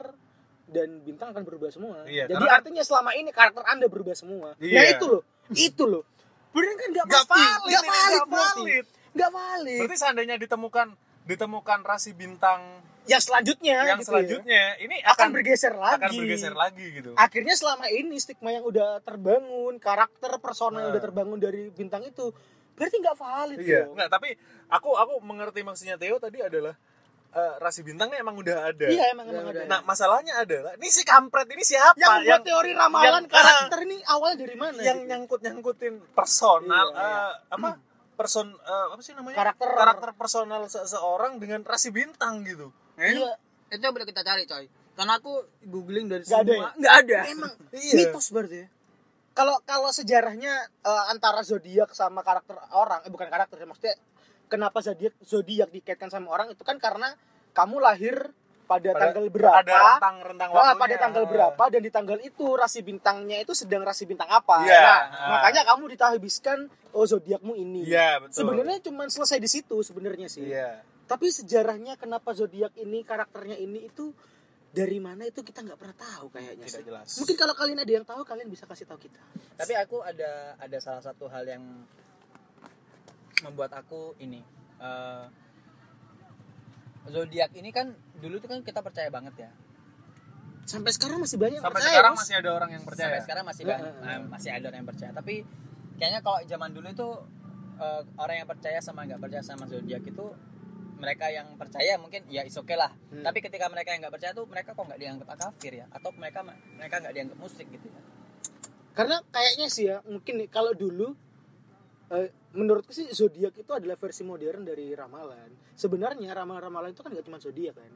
dan bintang akan berubah semua. Iya, Jadi karena kan- artinya selama ini karakter Anda berubah semua. Iya. Nah itu loh, itu loh. Bener kan nggak Nggak pasti, valid, nggak ini valid, nggak berarti. valid. nggak valid. Berarti seandainya ditemukan ditemukan rasi bintang yang selanjutnya yang gitu ya, selanjutnya ini akan, akan bergeser lagi akan bergeser lagi gitu. akhirnya selama ini stigma yang udah terbangun karakter persona yang Nah. udah terbangun dari bintang itu berarti nggak valid Iya. dong. Nggak, tapi aku aku mengerti maksudnya Theo tadi adalah eh, rasi bintangnya emang udah ada. iya emang emang Udah, ada udah. Nah, masalahnya adalah ini si kampret ini siapa yang membuat yang teori ramalan yang- karakter ini awalnya dari mana yang gitu? nyangkut-nyangkutin personal Iya, iya. eh, apa? person eh, apa sih namanya? karakter karakter personal seseorang dengan rasi bintang gitu. Iya. Eh? itu yang boleh kita cari coy karena aku googling dari Nggak ada semua ya? nggak ada emang Iya. mitos berarti ya kalau kalau sejarahnya eh, antara zodiak sama karakter orang eh bukan karakter ya, maksudnya kenapa zodiak zodiak dikaitkan sama orang itu kan karena kamu lahir pada, Pada- tanggal berapa Ada rentang-rentang Ah, waktunya. pada tanggal berapa dan di tanggal itu rasi bintangnya itu sedang rasi bintang apa. Iya. Nah, Ah. makanya kamu ditahbiskan oh zodiakmu ini. Iya, betul. Sebenarnya cuma selesai di situ sebenarnya sih. iya. Tapi sejarahnya kenapa zodiak ini karakternya ini itu dari mana itu kita nggak pernah tahu kayaknya. Tidak sih. jelas. Mungkin kalau kalian ada yang tahu kalian bisa kasih tahu kita. tapi aku ada ada salah satu hal yang membuat aku ini eh, zodiak ini kan dulu tuh kan kita percaya banget ya Sampai sekarang masih banyak yang sampai percaya, sekarang Mas. masih ada orang yang percaya. sampai sekarang masih Iya. banyak eh, masih ada orang yang percaya tapi kayaknya kalau zaman dulu itu eh, orang yang percaya sama nggak percaya sama zodiak itu mereka yang percaya mungkin ya is okay lah Hmm. tapi ketika mereka yang nggak percaya tuh mereka kok nggak dianggap kafir ya atau mereka mereka nggak dianggap musik gitu ya Hmm. karena kayaknya sih ya mungkin nih kalau dulu eh, menurutku sih zodiak itu adalah versi modern dari ramalan sebenarnya ramalan-ramalan itu kan gak cuma zodiak kan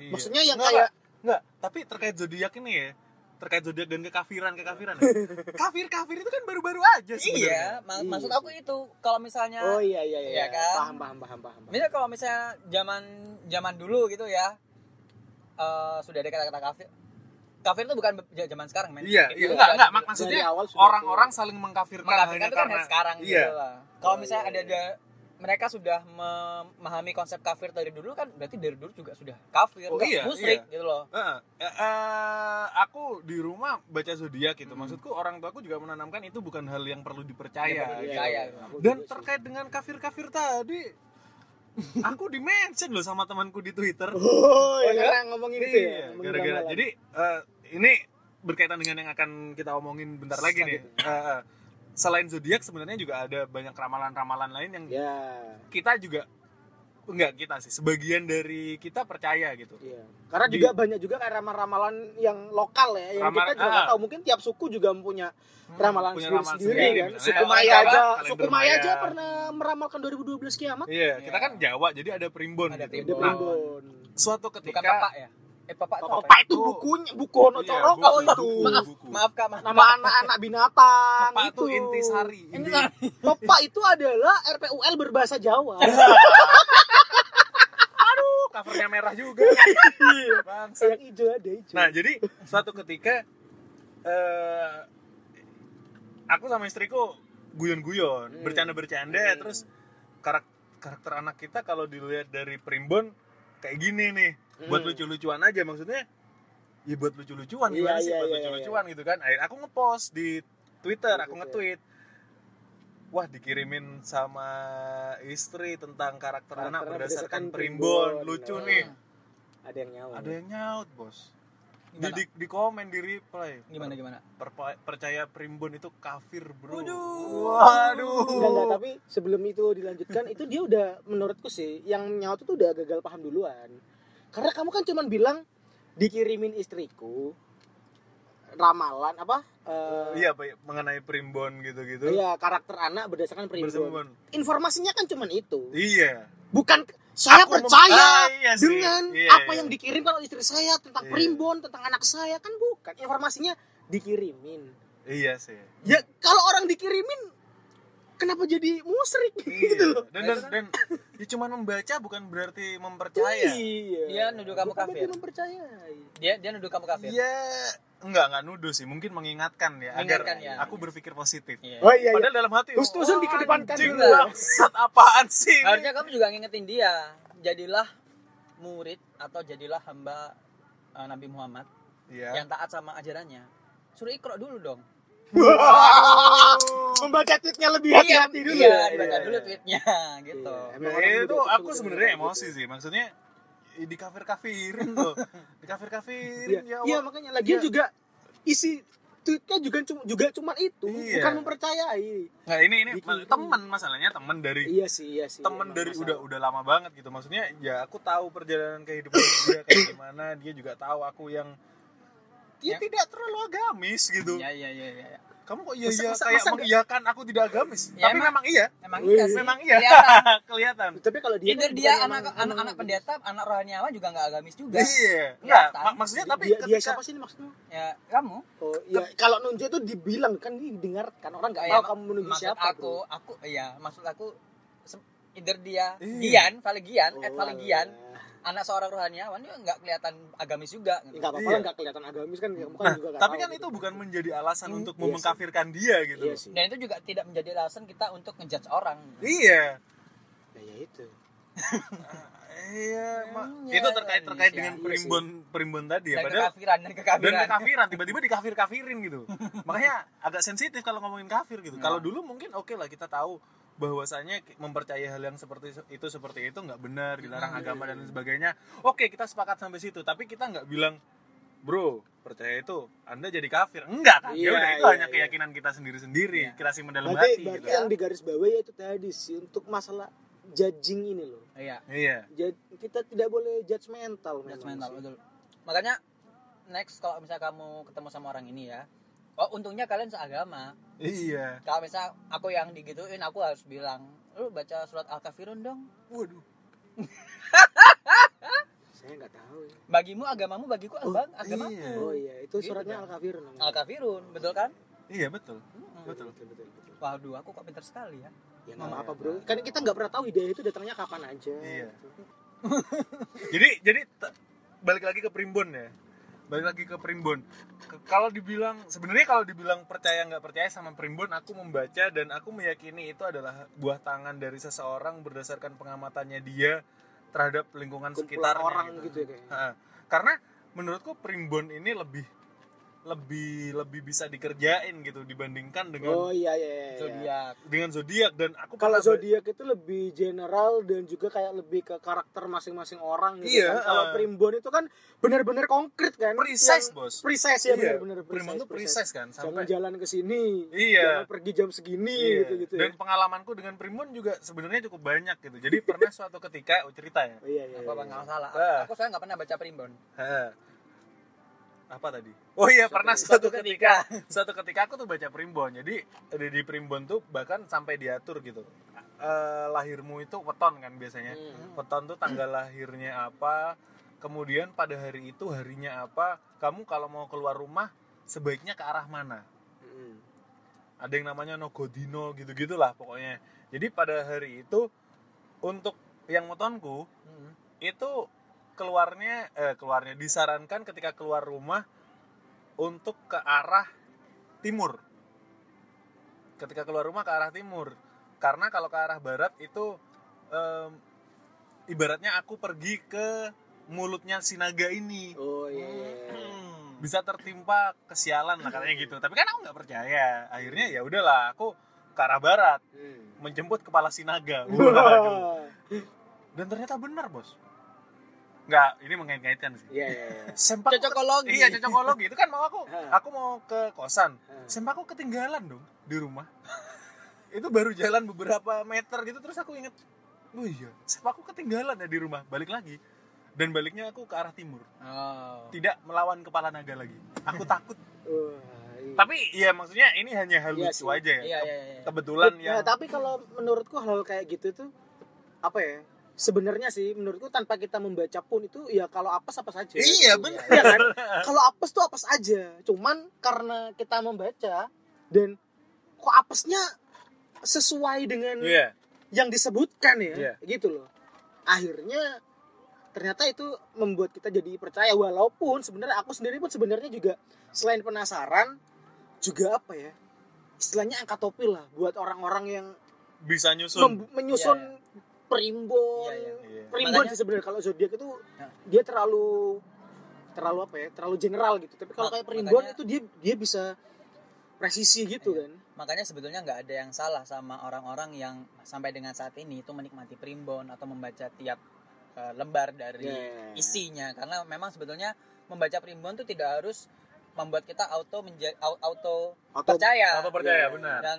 Iya. maksudnya yang Nggak, kayak Enggak, tapi terkait zodiak ini ya, terkait zodiak dan kekafiran kekafiran. ya. *laughs* kafir kafir itu kan baru-baru iya aja sebenarnya. ma- Iya maksud sih. aku itu kalau misalnya oh iya iya iya Iya kan? paham paham paham paham Iya, paham. Misalnya kalau misalnya zaman zaman dulu gitu ya eh, sudah ada kata-kata kafir. Kafir itu bukan be- zaman sekarang, men. Iya, Kayak iya, gitu enggak, dari enggak, mak dulu. dari maksudnya awal sudah orang-orang saling mengkafirkan, mengkafirkan hanya itu kan dari sekarang iya. gitu lah. Kalau Oh, misalnya iya, ada iya. ada- mereka sudah memahami konsep kafir dari dulu kan berarti dari dulu juga sudah kafir, Oh, nggak iya, musyrik gitu loh. Heeh. Eh, eh, aku di rumah baca zodiak gitu. Hmm. Maksudku orang tuaku juga menanamkan itu bukan hal yang perlu dipercaya. iya, Yang perlu gitu. dipercaya. Aku Dan juga sih. terkait dengan kafir-kafir tadi, *laughs* aku di-mention loh sama temanku di Twitter. oh iya? iya karena ngomongin gitu itu ya Iya, ngomongin gara-gara. ramalan. Jadi eh, ini berkaitan dengan yang akan kita omongin bentar lagi nih. Eh, eh, selain zodiak sebenarnya juga ada banyak ramalan-ramalan lain Iya. yang ya kita juga enggak kita sih sebagian dari kita percaya gitu. iya karena Di- juga banyak juga kayak ramalan-ramalan yang lokal ya yang kita Ramalan- juga nggak ah. Hmm, tahu mungkin tiap suku juga punya ramalan punya sendiri, ramalan sendiri sendiri, kan misalnya suku kalau Maya Jawa, aja kalender suku Maya Maya. aja pernah meramalkan 2012 kiamat Iya, kita Iya. kan Jawa jadi ada primbon. Ada gitu. Primbon. Ada Nah, primbon. suatu Bukan ketika bapak ya. Eh, bapak itu apa? Apa ya? itu Buku. bukunya buku ono Iya, coroko buku, itu. buku, Maaf, buku. Maaf Kak, maaf. nama anak-anak binatang Bapak itu. itu intisari. Ini Inti- kan- Bapak itu adalah RPUL berbahasa Jawa. *laughs* Aduh, covernya merah *laughs* juga. Iya. Bangsat. yang hijau ada hijau. Nah, jadi suatu ketika eh aku sama istriku Hmm. guyon-guyon, bercanda-bercanda Hmm. terus karak- karakter anak kita kalau dilihat dari primbon kayak gini nih, buat Hmm. lucu-lucuan aja maksudnya. Ya buat lucu-lucuan Iya, gimana sih iya, buat iya, lucu-lucuan gitu kan. Akhirnya aku ngepost di Twitter, Di aku Twitter. nge-tweet Wah dikirimin sama istri tentang karakter, Karakter anak berdasarkan berdasarkan, primbon. primbon, lucu Nah. nih. ada yang nyawa. Ada yang nyaut bos di, Gimana? di, di komen di reply Gimana gimana? Per- percaya primbon itu kafir bro Waduh. waduh Enggak, enggak, tapi sebelum itu dilanjutkan itu dia udah menurutku sih yang nyaut itu udah gagal paham duluan. Karena kamu kan cuman bilang dikirimin istriku ramalan apa? eh, iya Pak, mengenai primbon gitu gitu Iya, karakter anak berdasarkan primbon. Informasinya kan cuman itu. iya Bukan saya Aku mem- Ah, percaya iya sih. dengan Iya, apa iya. yang dikirimkan oleh istri saya tentang Iya. primbon, tentang anak saya kan bukan. Informasinya dikirimin. iya sih Ya kalau orang dikirimin kenapa jadi musrik *laughs* *laughs* gitu iya. loh. dan Nah, dan, itu kan- dan ya cuman membaca bukan berarti mempercaya Iya. Dia nuduh kamu Bukan kafir. berarti mempercayai. Dia dia nuduh kamu kafir. iya enggak enggak nuduh sih mungkin mengingatkan ya Mengingatkan, agar ya. aku berpikir positif Iya. Oh iya. iya. padahal dalam hati Husnuzon "Wah, dikedepankan anjing, dulu." bangsat, apaan sih ini? Harusnya kamu juga ngingetin dia. Jadilah murid atau jadilah hamba eh, Nabi Muhammad iya yang taat sama ajarannya. Suruh ikro dulu dong. Membaca tweetnya lebih Iya, hati-hati dulu. iya, dibaca Iya. dulu tweetnya *laughs* gitu. Iya. Emang Ya, orang itu muda aku suka sebenarnya gitu. emosi sih maksudnya eh, di kafir kafirin tuh di kafir Iya, kafirin ya, iya, Allah. makanya lagian Iya. juga isi tweetnya juga cuma juga cuman itu, Iya. bukan mempercayai. nah ini ini Bikin- teman masalahnya teman dari Iya sih, iya sih. temen emang dari masalah. udah udah lama banget gitu maksudnya ya aku tahu perjalanan kehidupan dia *coughs* kayak gimana dia juga tahu aku yang Ya. dia tidak terlalu agamis gitu Iya, iya, iya, iya. kamu kok iya Masa- iya masa- masa kayak enggak- mengiyakan aku tidak agamis Ya, tapi emang- memang iya Emang Wih. iya sih. memang iya Kelihatan. *laughs* kelihatan Tapi kalau dia Either kan dia bukan anak emang- anak emang- anak pendatap, anak rohaniawan juga nggak agamis juga. iya enggak Kelihatan. mak- maksudnya tapi dia, dia ketika siapa sih ini maksudnya? Ya, kamu. Oh, iya. Kalau nunjuk itu dibilang kan didengarkan orang nggak Iya, tahu mak- kamu menuju maksud siapa. aku, bro. aku iya, maksud aku se- either dia Iya. Gian, eh, Valegian, Oh, Ed Valegian, alah. anak seorang rohaniawan dia nggak kelihatan agamis juga. Ya, gitu. nggak apa-apa Iya. lah, nggak kelihatan agamis kan kamu kan nah juga nggak tapi tahu kan gitu. itu bukan menjadi alasan Hmm, untuk iya sih. memengkafirkan dia gitu Iya sih. Dan itu juga tidak menjadi alasan kita untuk ngejudge orang. iya Nah, ya itu. iya mak- Iya, itu terkait terkait Indonesia. dengan Iya sih. perimbun perimbun tadi ya Dan padahal kekafiran dan dan kekafiran. kekafiran tiba-tiba dikafir kafirin *laughs* gitu makanya agak sensitif kalau ngomongin kafir gitu Nah. Iya. kalau dulu mungkin oke lah kita tahu bahwasanya ki- mempercayai hal yang seperti se- itu seperti itu nggak benar dilarang Iya, Hmm. agama dan sebagainya oke kita sepakat sampai situ tapi kita nggak bilang bro percaya itu anda jadi kafir enggak kan ya Iya, udah itu iya, hanya iya. keyakinan kita Iya. sendiri-sendiri kita simpen dalam Berarti, hati berarti gitu yang digaris bawah ya itu tadi sih untuk masalah judging ini loh. Iya, iya Jadi kita tidak boleh judgmental memang judgmental sih. betul. Makanya next kalau misalnya kamu ketemu sama orang ini ya, oh untungnya kalian seagama. iya kalau misal aku yang digituin aku harus bilang lu baca surat al-kafirun dong waduh Saya nggak tahu. ya. bagimu agamamu bagiku abang agamaku iya. Oh iya, itu Gitu suratnya kan. Al-Kafir namanya. al-kafirun betul kan iya betul Mm-mm. Betul. betul, betul, betul. waduh aku kok pinter sekali ya Ya nggak apa-apa bro, kan kita nggak pernah tahu hidayah itu datangnya kapan aja. Gitu. Iya. jadi jadi te- balik lagi ke primbon ya balik lagi ke primbon Ke- kalau dibilang sebenarnya kalau dibilang percaya nggak percaya sama primbon aku membaca dan aku meyakini itu adalah buah tangan dari seseorang berdasarkan pengamatannya dia terhadap lingkungan Kumpulan sekitarnya orang gitu. gitu, ya kayaknya. Ha, karena menurutku primbon ini lebih lebih lebih bisa dikerjain gitu dibandingkan dengan Oh iya iya. iya, iya. zodiak dengan zodiak dan aku Kalau pernah ba- zodiak itu lebih general dan juga kayak lebih ke karakter masing-masing orang gitu Iya, kan. Kalau eh. Primbon itu kan benar-benar konkret kan. Yang- precise bos Precise ya Iya, benar-benar primbon tuh precise kan Jangan sampai jalan ke sini. Iya. Jangan pergi jam segini Iya. gitu-gitu. ya. Dan pengalamanku dengan Primbon juga sebenarnya cukup banyak gitu. Jadi *laughs* pernah suatu ketika oh, cerita ya. Oh, iya iya. apa apa iya. nggak salah Ah. aku soalnya nggak pernah baca primbon Ha. Apa tadi? Oh iya, Suatu- pernah suatu suatu ketika suatu ketika aku tuh baca Primbon. Jadi di, di Primbon tuh bahkan sampai diatur gitu. Eh, lahirmu itu weton kan biasanya. Hmm. Weton tuh tanggal lahirnya apa, kemudian pada hari itu harinya apa, kamu kalau mau keluar rumah sebaiknya ke arah mana? Hmm. ada yang namanya nogodino gitu gitulah pokoknya jadi pada hari itu untuk yang motonku Mm-mm. itu keluarnya eh, keluarnya disarankan ketika keluar rumah untuk ke arah timur ketika keluar rumah ke arah timur karena kalau ke arah barat itu em, ibaratnya aku pergi ke mulutnya si naga ini Oh iya iya. iya. bisa tertimpa kesialan lah katanya gitu tapi kan aku nggak percaya akhirnya ya udahlah aku ke arah barat Hmm. menjemput *laughs* kepala sinaga Waduh. Wah. dan ternyata benar bos nggak ini mengait-ngaitkan sih *laughs* Iya iya. iya. sempak cocokologi iya *laughs* cocokologi itu kan mau aku Ha. aku mau ke kosan sempakku ketinggalan dong di rumah *laughs* itu baru jalan beberapa meter gitu terus aku inget oh iya sempakku ketinggalan ya di rumah balik lagi dan baliknya aku ke arah timur oh. tidak melawan kepala naga lagi aku takut Wah, iya. tapi ya maksudnya ini hanya hal Iya lucu sih. aja ya iya iya iya kebetulan Nah, yang tapi kalau menurutku hal-hal kayak gitu tuh apa ya? Sebenarnya sih menurutku tanpa kita membaca pun itu ya kalau apes apa saja. iya benar Iya *laughs* kan? Kalau apes tuh apes aja. Cuman karena kita membaca dan kok apesnya sesuai dengan iya yang disebutkan ya, Iya. gitu loh. Akhirnya ternyata itu membuat kita jadi percaya walaupun sebenarnya aku sendiri pun sebenarnya juga selain penasaran juga apa ya? Istilahnya angkat topi lah buat orang-orang yang bisa nyusun mem- menyusun Iya, primbon. Iya, iya. Iya. Primbon Makanya- sih sebenarnya kalau zodiak itu Ya. dia terlalu terlalu apa ya? Terlalu general gitu. Tapi kalau Mak- kayak primbon makanya- itu dia dia bisa presisi gitu Iya. kan Makanya sebetulnya nggak ada yang salah sama orang-orang yang sampai dengan saat ini itu menikmati primbon atau membaca tiap eh, lembar dari Iya. isinya karena memang sebetulnya membaca primbon itu tidak harus membuat kita auto menja- au- auto, Auto- percaya Atau percaya, Iya. benar. dan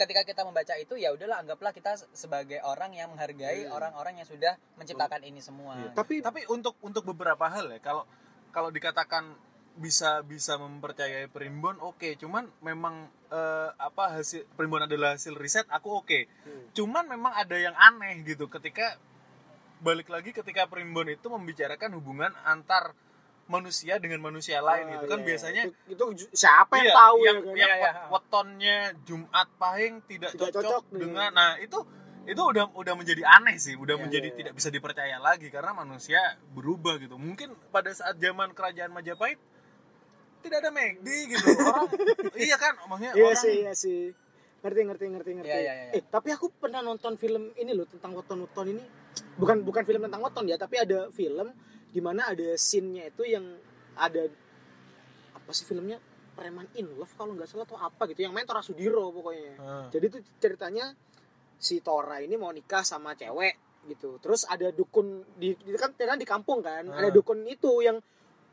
ketika kita membaca itu ya udahlah anggaplah kita sebagai orang yang menghargai Hmm. orang-orang yang sudah menciptakan ini semua Iya. gitu. tapi Tapi untuk untuk beberapa hal ya, kalau kalau dikatakan bisa bisa mempercayai primbon, oke. Cuman memang eh, apa hasil primbon adalah hasil riset, aku oke. Hmm. Cuman memang ada yang aneh gitu ketika balik lagi ketika primbon itu membicarakan hubungan antar manusia dengan manusia Ah, lain gitu kan iya. biasanya itu, itu ju- siapa yang tahu yang, ya kan? yang Iya, iya. wet- wetonnya Jumat Pahing tidak, Tidak cocok, cocok dengan dengan- nah itu itu udah udah menjadi aneh sih udah Iya, menjadi iya, iya. tidak bisa dipercaya lagi karena manusia berubah gitu mungkin pada saat zaman kerajaan Majapahit tidak ada McD gitu orang *laughs* iya kan maksudnya Iya orang sih, iya sih. Ngerti, ngerti, ngerti, ngerti. Iya, iya, iya. Eh, tapi aku pernah nonton film ini loh tentang weton-weton ini. Bukan bukan film tentang weton ya, tapi ada film di mana ada scene-nya itu yang ada apa sih filmnya? Preman in Love kalau nggak salah atau apa gitu. Yang main Tora Sudiro pokoknya. Heeh. Jadi itu ceritanya si Tora ini mau nikah sama cewek gitu. Terus ada dukun di di- kan kan di kampung kan, Hmm. ada dukun itu yang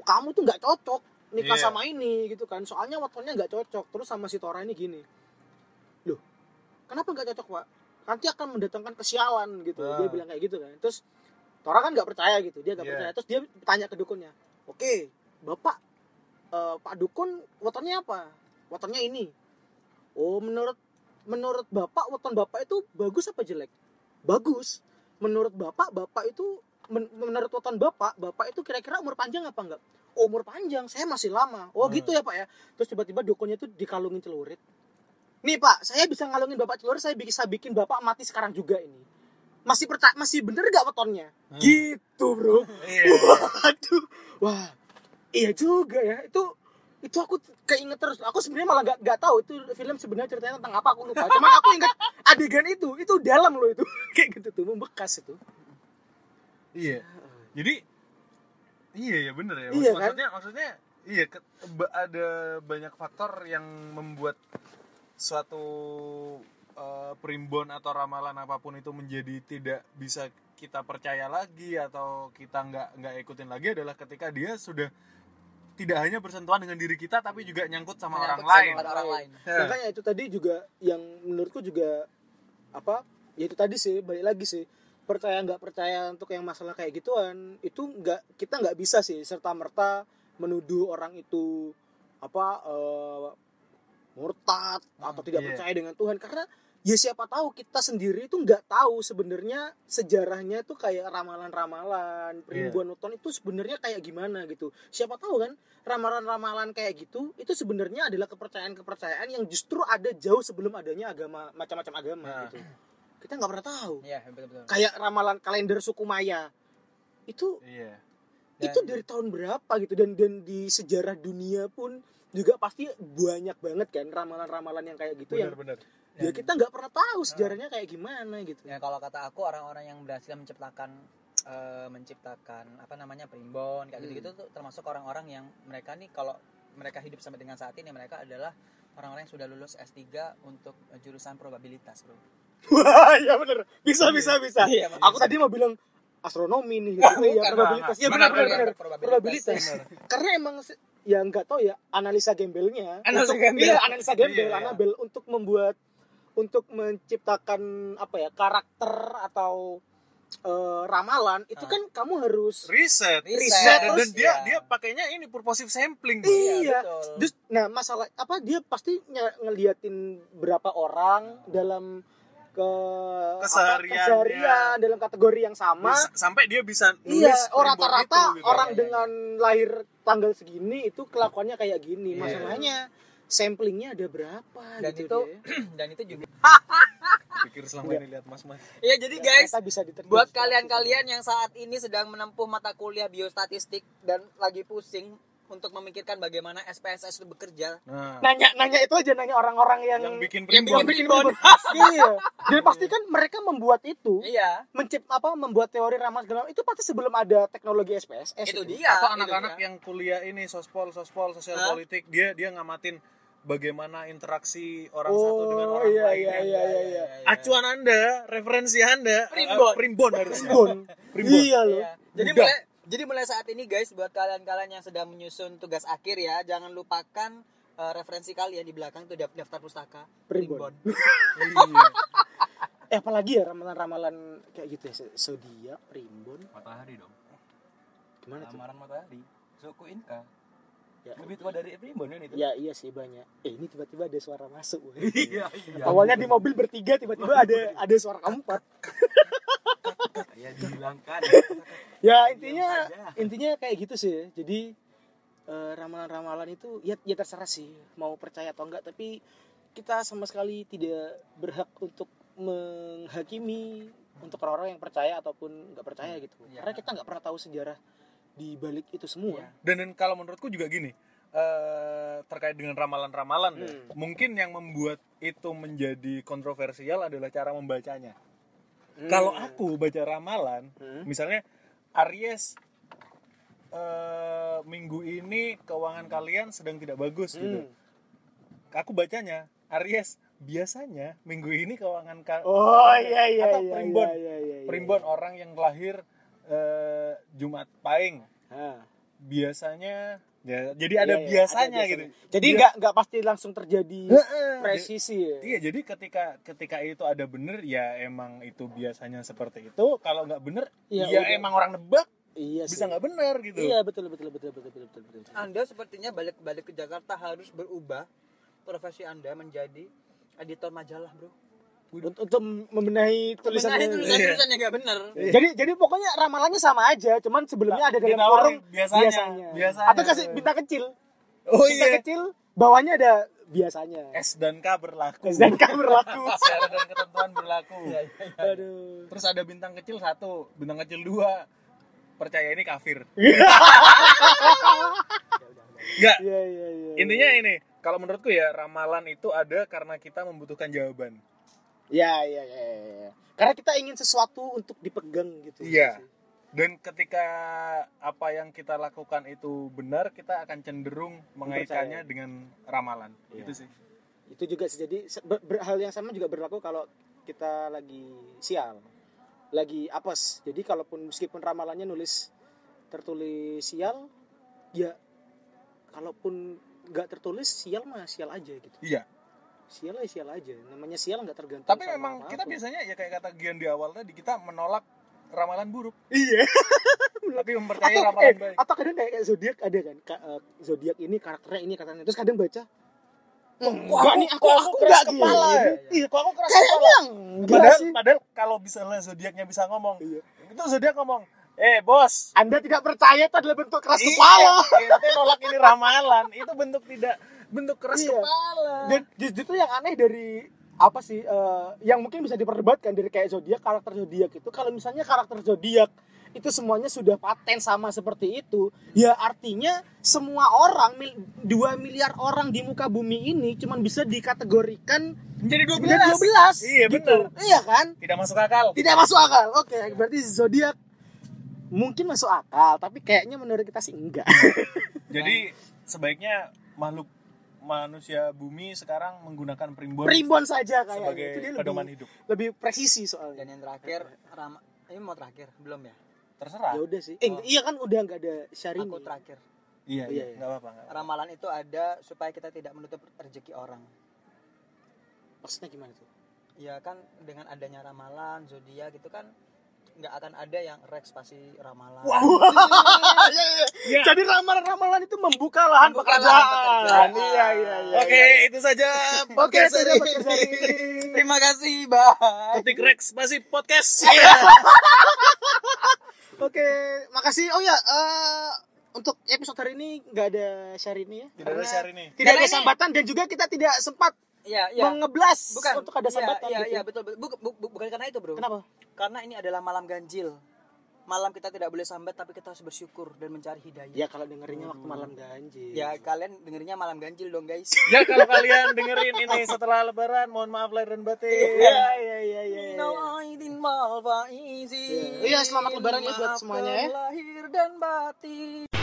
kamu tuh nggak cocok nikah Iya. sama ini gitu kan soalnya wetonnya nggak cocok terus sama si Tora ini gini loh kenapa nggak cocok pak nanti akan mendatangkan kesialan gitu Nah. dia bilang kayak gitu kan terus Tora kan nggak percaya gitu dia nggak Iya. percaya terus dia tanya ke dukunnya oke bapak eh, pak dukun wetonnya apa wetonnya ini oh menurut menurut bapak weton bapak itu bagus apa jelek bagus menurut bapak bapak itu men- menurut weton bapak bapak itu kira-kira umur panjang apa enggak "Oh, umur panjang saya masih lama oh Hmm. gitu ya pak ya terus tiba-tiba dukunnya itu dikalungin celurit nih pak saya bisa ngalungin bapak celurit saya bisa bikin bapak mati sekarang juga ini masih percaya masih bener gak wetonnya Hmm. gitu bro Iya. Waduh, wah, iya juga ya. Itu itu aku keinget terus. Aku sebenarnya malah gak, nggak tahu itu film sebenarnya ceritanya tentang apa aku lupa. Cuman aku inget adegan itu, itu dalam loh itu. *laughs* Kayak gitu tuh, membekas itu. iya jadi iya ya bener ya Iya, kan? maksudnya maksudnya iya ke- ba- ada banyak faktor yang membuat suatu eh, primbon atau ramalan apapun itu menjadi tidak bisa kita percaya lagi atau kita nggak nggak ikutin lagi adalah ketika dia sudah tidak hanya bersentuhan dengan diri kita tapi juga nyangkut sama Menyangkut orang sama lain. pada orang lain. Ya. Makanya itu tadi juga yang menurutku juga apa? Ya itu tadi sih, balik lagi sih percaya nggak percaya untuk yang masalah kayak gituan itu nggak kita nggak bisa sih serta merta menuduh orang itu apa eh, murtad atau Hmm, tidak iya. percaya dengan Tuhan karena ya siapa tahu kita sendiri itu nggak tahu sebenarnya sejarahnya tuh kayak ramalan-ramalan primbon weton itu sebenarnya kayak gimana gitu siapa tahu kan ramalan-ramalan kayak gitu itu sebenarnya adalah kepercayaan-kepercayaan yang justru ada jauh sebelum adanya agama macam-macam agama Nah. gitu kita nggak pernah tahu Iya, betul-betul. kayak ramalan kalender suku Maya itu Iya. Dan- itu dari tahun berapa gitu dan dan di sejarah dunia pun juga pasti banyak banget kan ramalan-ramalan yang kayak gitu yang benar. ya dan- kita nggak pernah tahu sejarahnya kayak gimana gitu Ya kalau kata aku orang-orang yang berhasil menciptakan eh, menciptakan apa namanya primbon kayak Hmm. gitu-gitu tuh termasuk orang-orang yang mereka nih kalau mereka hidup sampai dengan saat ini mereka adalah orang-orang yang sudah lulus S3 untuk eh, jurusan probabilitas, Bro. wah *laughs* ya bener bisa bisa bisa Iya, aku tadi mau bilang astronomi nih gitu ya bukan, probabilitas ya Bang. benar Benar, benar benar. benar Iya, probabilitas *laughs* karena emang se- ya nggak tahu ya analisa gembelnya Analisa untuk- gembel. iya, analisa gembel Iya, iya. Anabel untuk membuat untuk menciptakan apa ya karakter atau eh, ramalan itu Ah. kan kamu harus Riset. Riset. Riset. Dan, Terus, dia iya. dia pakainya ini purposive sampling. Bang. iya betul. Terus, nah masalah apa dia pasti ny- ngeliatin berapa orang dalam ke apa, Kesehariannya. keseharian, dalam kategori yang sama Bisa- sampai dia bisa Iya, nulis oh, primbon rata-rata itu, gitu. orang Iya, iya, dengan lahir tanggal segini itu kelakuannya kayak gini. Iya. Masalahnya samplingnya ada berapa Dan gitu itu- deh. dan itu juga pikir selama ini lihat mas mas Iya, jadi Ya, guys, ternyata bisa diterjemahkan. buat kalian-kalian yang saat ini sedang menempuh mata kuliah biostatistik dan lagi pusing untuk memikirkan bagaimana SPSS itu bekerja, nah, nanya nanya itu aja nanya orang-orang yang yang bikin yang primbon bikin primbon. iya. Jadi pasti kan mereka membuat itu, iya, mencip apa membuat teori ramal segala itu pasti sebelum ada teknologi SPSS. itu itu. dia. atau itu anak-anak dia. yang kuliah ini sospol sospol sosial Hah? politik dia dia ngamatin bagaimana interaksi orang Oh, satu dengan orang kan. iya, iya, lainnya. iya, iya. Acuan Anda, referensi Anda, Primbon. eh, primbon harusnya. Primbon. Primbon. Iya loh. Iya. Jadi Mudah. mulai jadi mulai saat ini guys buat kalian-kalian yang sedang menyusun tugas akhir ya, jangan lupakan eh, referensi kalian di belakang tuh daf- daftar pustaka Primbon. Eh apalagi ya ramalan-ramalan kayak gitu ya zodiak, primbon, matahari dong gimana tuh? lamaran matahari suku Inka Ya. lebih tua dari Primbon kan itu Ya iya sih banyak. Eh ini tiba-tiba ada suara masuk. woy. *laughs* iya iya Awalnya di mobil bertiga tiba-tiba ada ada suara keempat. *laughs* ya dihilangkan *laughs* Ya intinya intinya kayak gitu sih. Jadi eh, ramalan-ramalan itu ya ya terserah sih mau percaya atau enggak tapi kita sama sekali tidak berhak untuk menghakimi untuk orang-orang yang percaya ataupun nggak percaya gitu. Iya. Karena kita nggak pernah tahu sejarah di balik itu semua. Iya. dan, dan kalau menurutku juga gini eh, terkait dengan ramalan-ramalan ya, Hmm. mungkin yang membuat itu menjadi kontroversial adalah cara membacanya Hmm. kalau aku baca ramalan Hmm. misalnya Aries eh, minggu ini keuangan kalian sedang tidak bagus gitu Hmm. aku bacanya Aries biasanya minggu ini keuangan ka- Oh iya iya Atau iya, primbon. iya, iya, iya. primbon orang yang lahir eh, Jumat Pahing Ah. biasanya ya, Iya, jadi ada iya, biasanya ada gitu Jadi Dia- nggak nggak pasti langsung terjadi Jadi- presisi ya. Iya, jadi ketika ketika itu ada bener ya emang itu biasanya seperti itu. Kalau nggak bener, Iya, ya, udah. emang orang nebak Iya sih. bisa nggak bener gitu. Iya betul betul betul betul betul betul. betul. Anda sepertinya balik-balik ke Jakarta harus berubah profesi Anda menjadi editor majalah, Bro. Untuk, untuk membenahi tulisan. Tulisannya Iya. tulisan-tulisannya enggak benar. Iya. Jadi jadi pokoknya ramalannya sama aja, cuman sebelumnya ada dalam Ditawarin forum biasanya, biasanya. biasanya. Atau kasih bintang kecil. Oh Bintang iya. Eh. kecil bawahnya ada biasanya. S dan K berlaku. Dan kan *laughs* berlaku. Syarat dan ketentuan berlaku. Aduh. Terus ada bintang kecil satu, bintang kecil dua. Percaya ini kafir. Nggak. Iya iya iya. Intinya ini, kalau menurutku ya ramalan itu ada karena kita membutuhkan jawaban. Ya ya ya. ya, ya. Karena kita ingin sesuatu untuk dipegang gitu. Iya. Dan ketika apa yang kita lakukan itu benar, kita akan cenderung mengaitkannya dengan ramalan. Iya. Itu sih. itu juga sih jadi se- ber- ber- hal yang sama juga berlaku kalau kita lagi sial lagi apes jadi kalaupun meskipun ramalannya nulis tertulis sial ya kalaupun nggak tertulis sial mah sial aja gitu Iya. sial ya sial aja namanya sial nggak tergantung Tapi sama memang apa-apa. kita biasanya ya kayak kata Gian di awal tadi kita menolak ramalan buruk, iya tapi mempercayai atau, ramalan eh, baik. atau kadang kayak, kayak zodiak ada kan Ka- eh, zodiak ini karakternya ini katanya terus kadang baca enggak nih aku aku nggak gini. Iya, kok aku keras kepala. kayaknya enggak Padahal, gitu. Iya sih padahal kalau misalnya zodiaknya bisa ngomong, Iya. itu zodiak ngomong, eh bos, Anda tidak percaya itu adalah bentuk keras iya, kepala. ente nolak ini ramalan, itu bentuk tidak bentuk keras Iya. kepala. Dan justru itu yang aneh dari apa sih eh, yang mungkin bisa diperdebatkan dari kayak zodiak karakter zodiak itu kalau misalnya karakter zodiak itu semuanya sudah paten sama seperti itu ya artinya semua orang 2 miliar orang di muka bumi ini cuman bisa dikategorikan Menjadi menjadi 12 Iya, gitu. benar. iya kan Tidak masuk akal. tidak masuk akal oke berarti zodiak mungkin masuk akal tapi kayaknya menurut kita sih enggak Jadi sebaiknya makhluk manusia bumi sekarang menggunakan primbon, primbon saja kayaknya sebagai itu dia lebih, pedoman hidup. lebih presisi Dan soalnya yang terakhir ram ini mau terakhir belum ya? Terserah. ya udah sih eh, Oh. iya kan udah nggak ada syahrini Aku terakhir. Iya, Iya, iya, iya. enggak apa-apa. nggak apa-apa. Ramalan itu ada supaya kita tidak menutup rezeki orang. maksudnya gimana tuh ya kan dengan adanya ramalan zodiak gitu kan nggak akan ada yang Rex pasti ramalan Iya. jadi ramalan-ramalan itu membuka lahan Membuka pekerjaan. lahan pekerjaan. iya iya iya Oke, itu saja. oke podcast itu hari dapat ini. syahrini *laughs* terima kasih bye Ketik Rex masih podcast. Iya. oke makasih oh ya eh, untuk episode hari ini nggak ada syahrini ya Tidak ada Karena syahrini. tidak ada Karena ini- sambatan dan juga kita tidak sempat ya Iya. ya mengeblas bukan untuk ada sambatan ya, gitu. ya, betul betul. Buk- bu- bukan karena itu bro kenapa karena ini adalah malam ganjil malam kita tidak boleh sambat tapi kita harus bersyukur dan mencari hidayah ya kalau dengerinnya waktu malam ganjil ya kalian dengernya malam ganjil dong *laughs* guys Ya kalau kalian dengerin ini setelah lebaran, mohon maaf lahir dan batin. Iya, iya, iya, iya. No aidin wal faizin. Iya, selamat lebaran ya buat semuanya ya. Maafkan lahir dan batin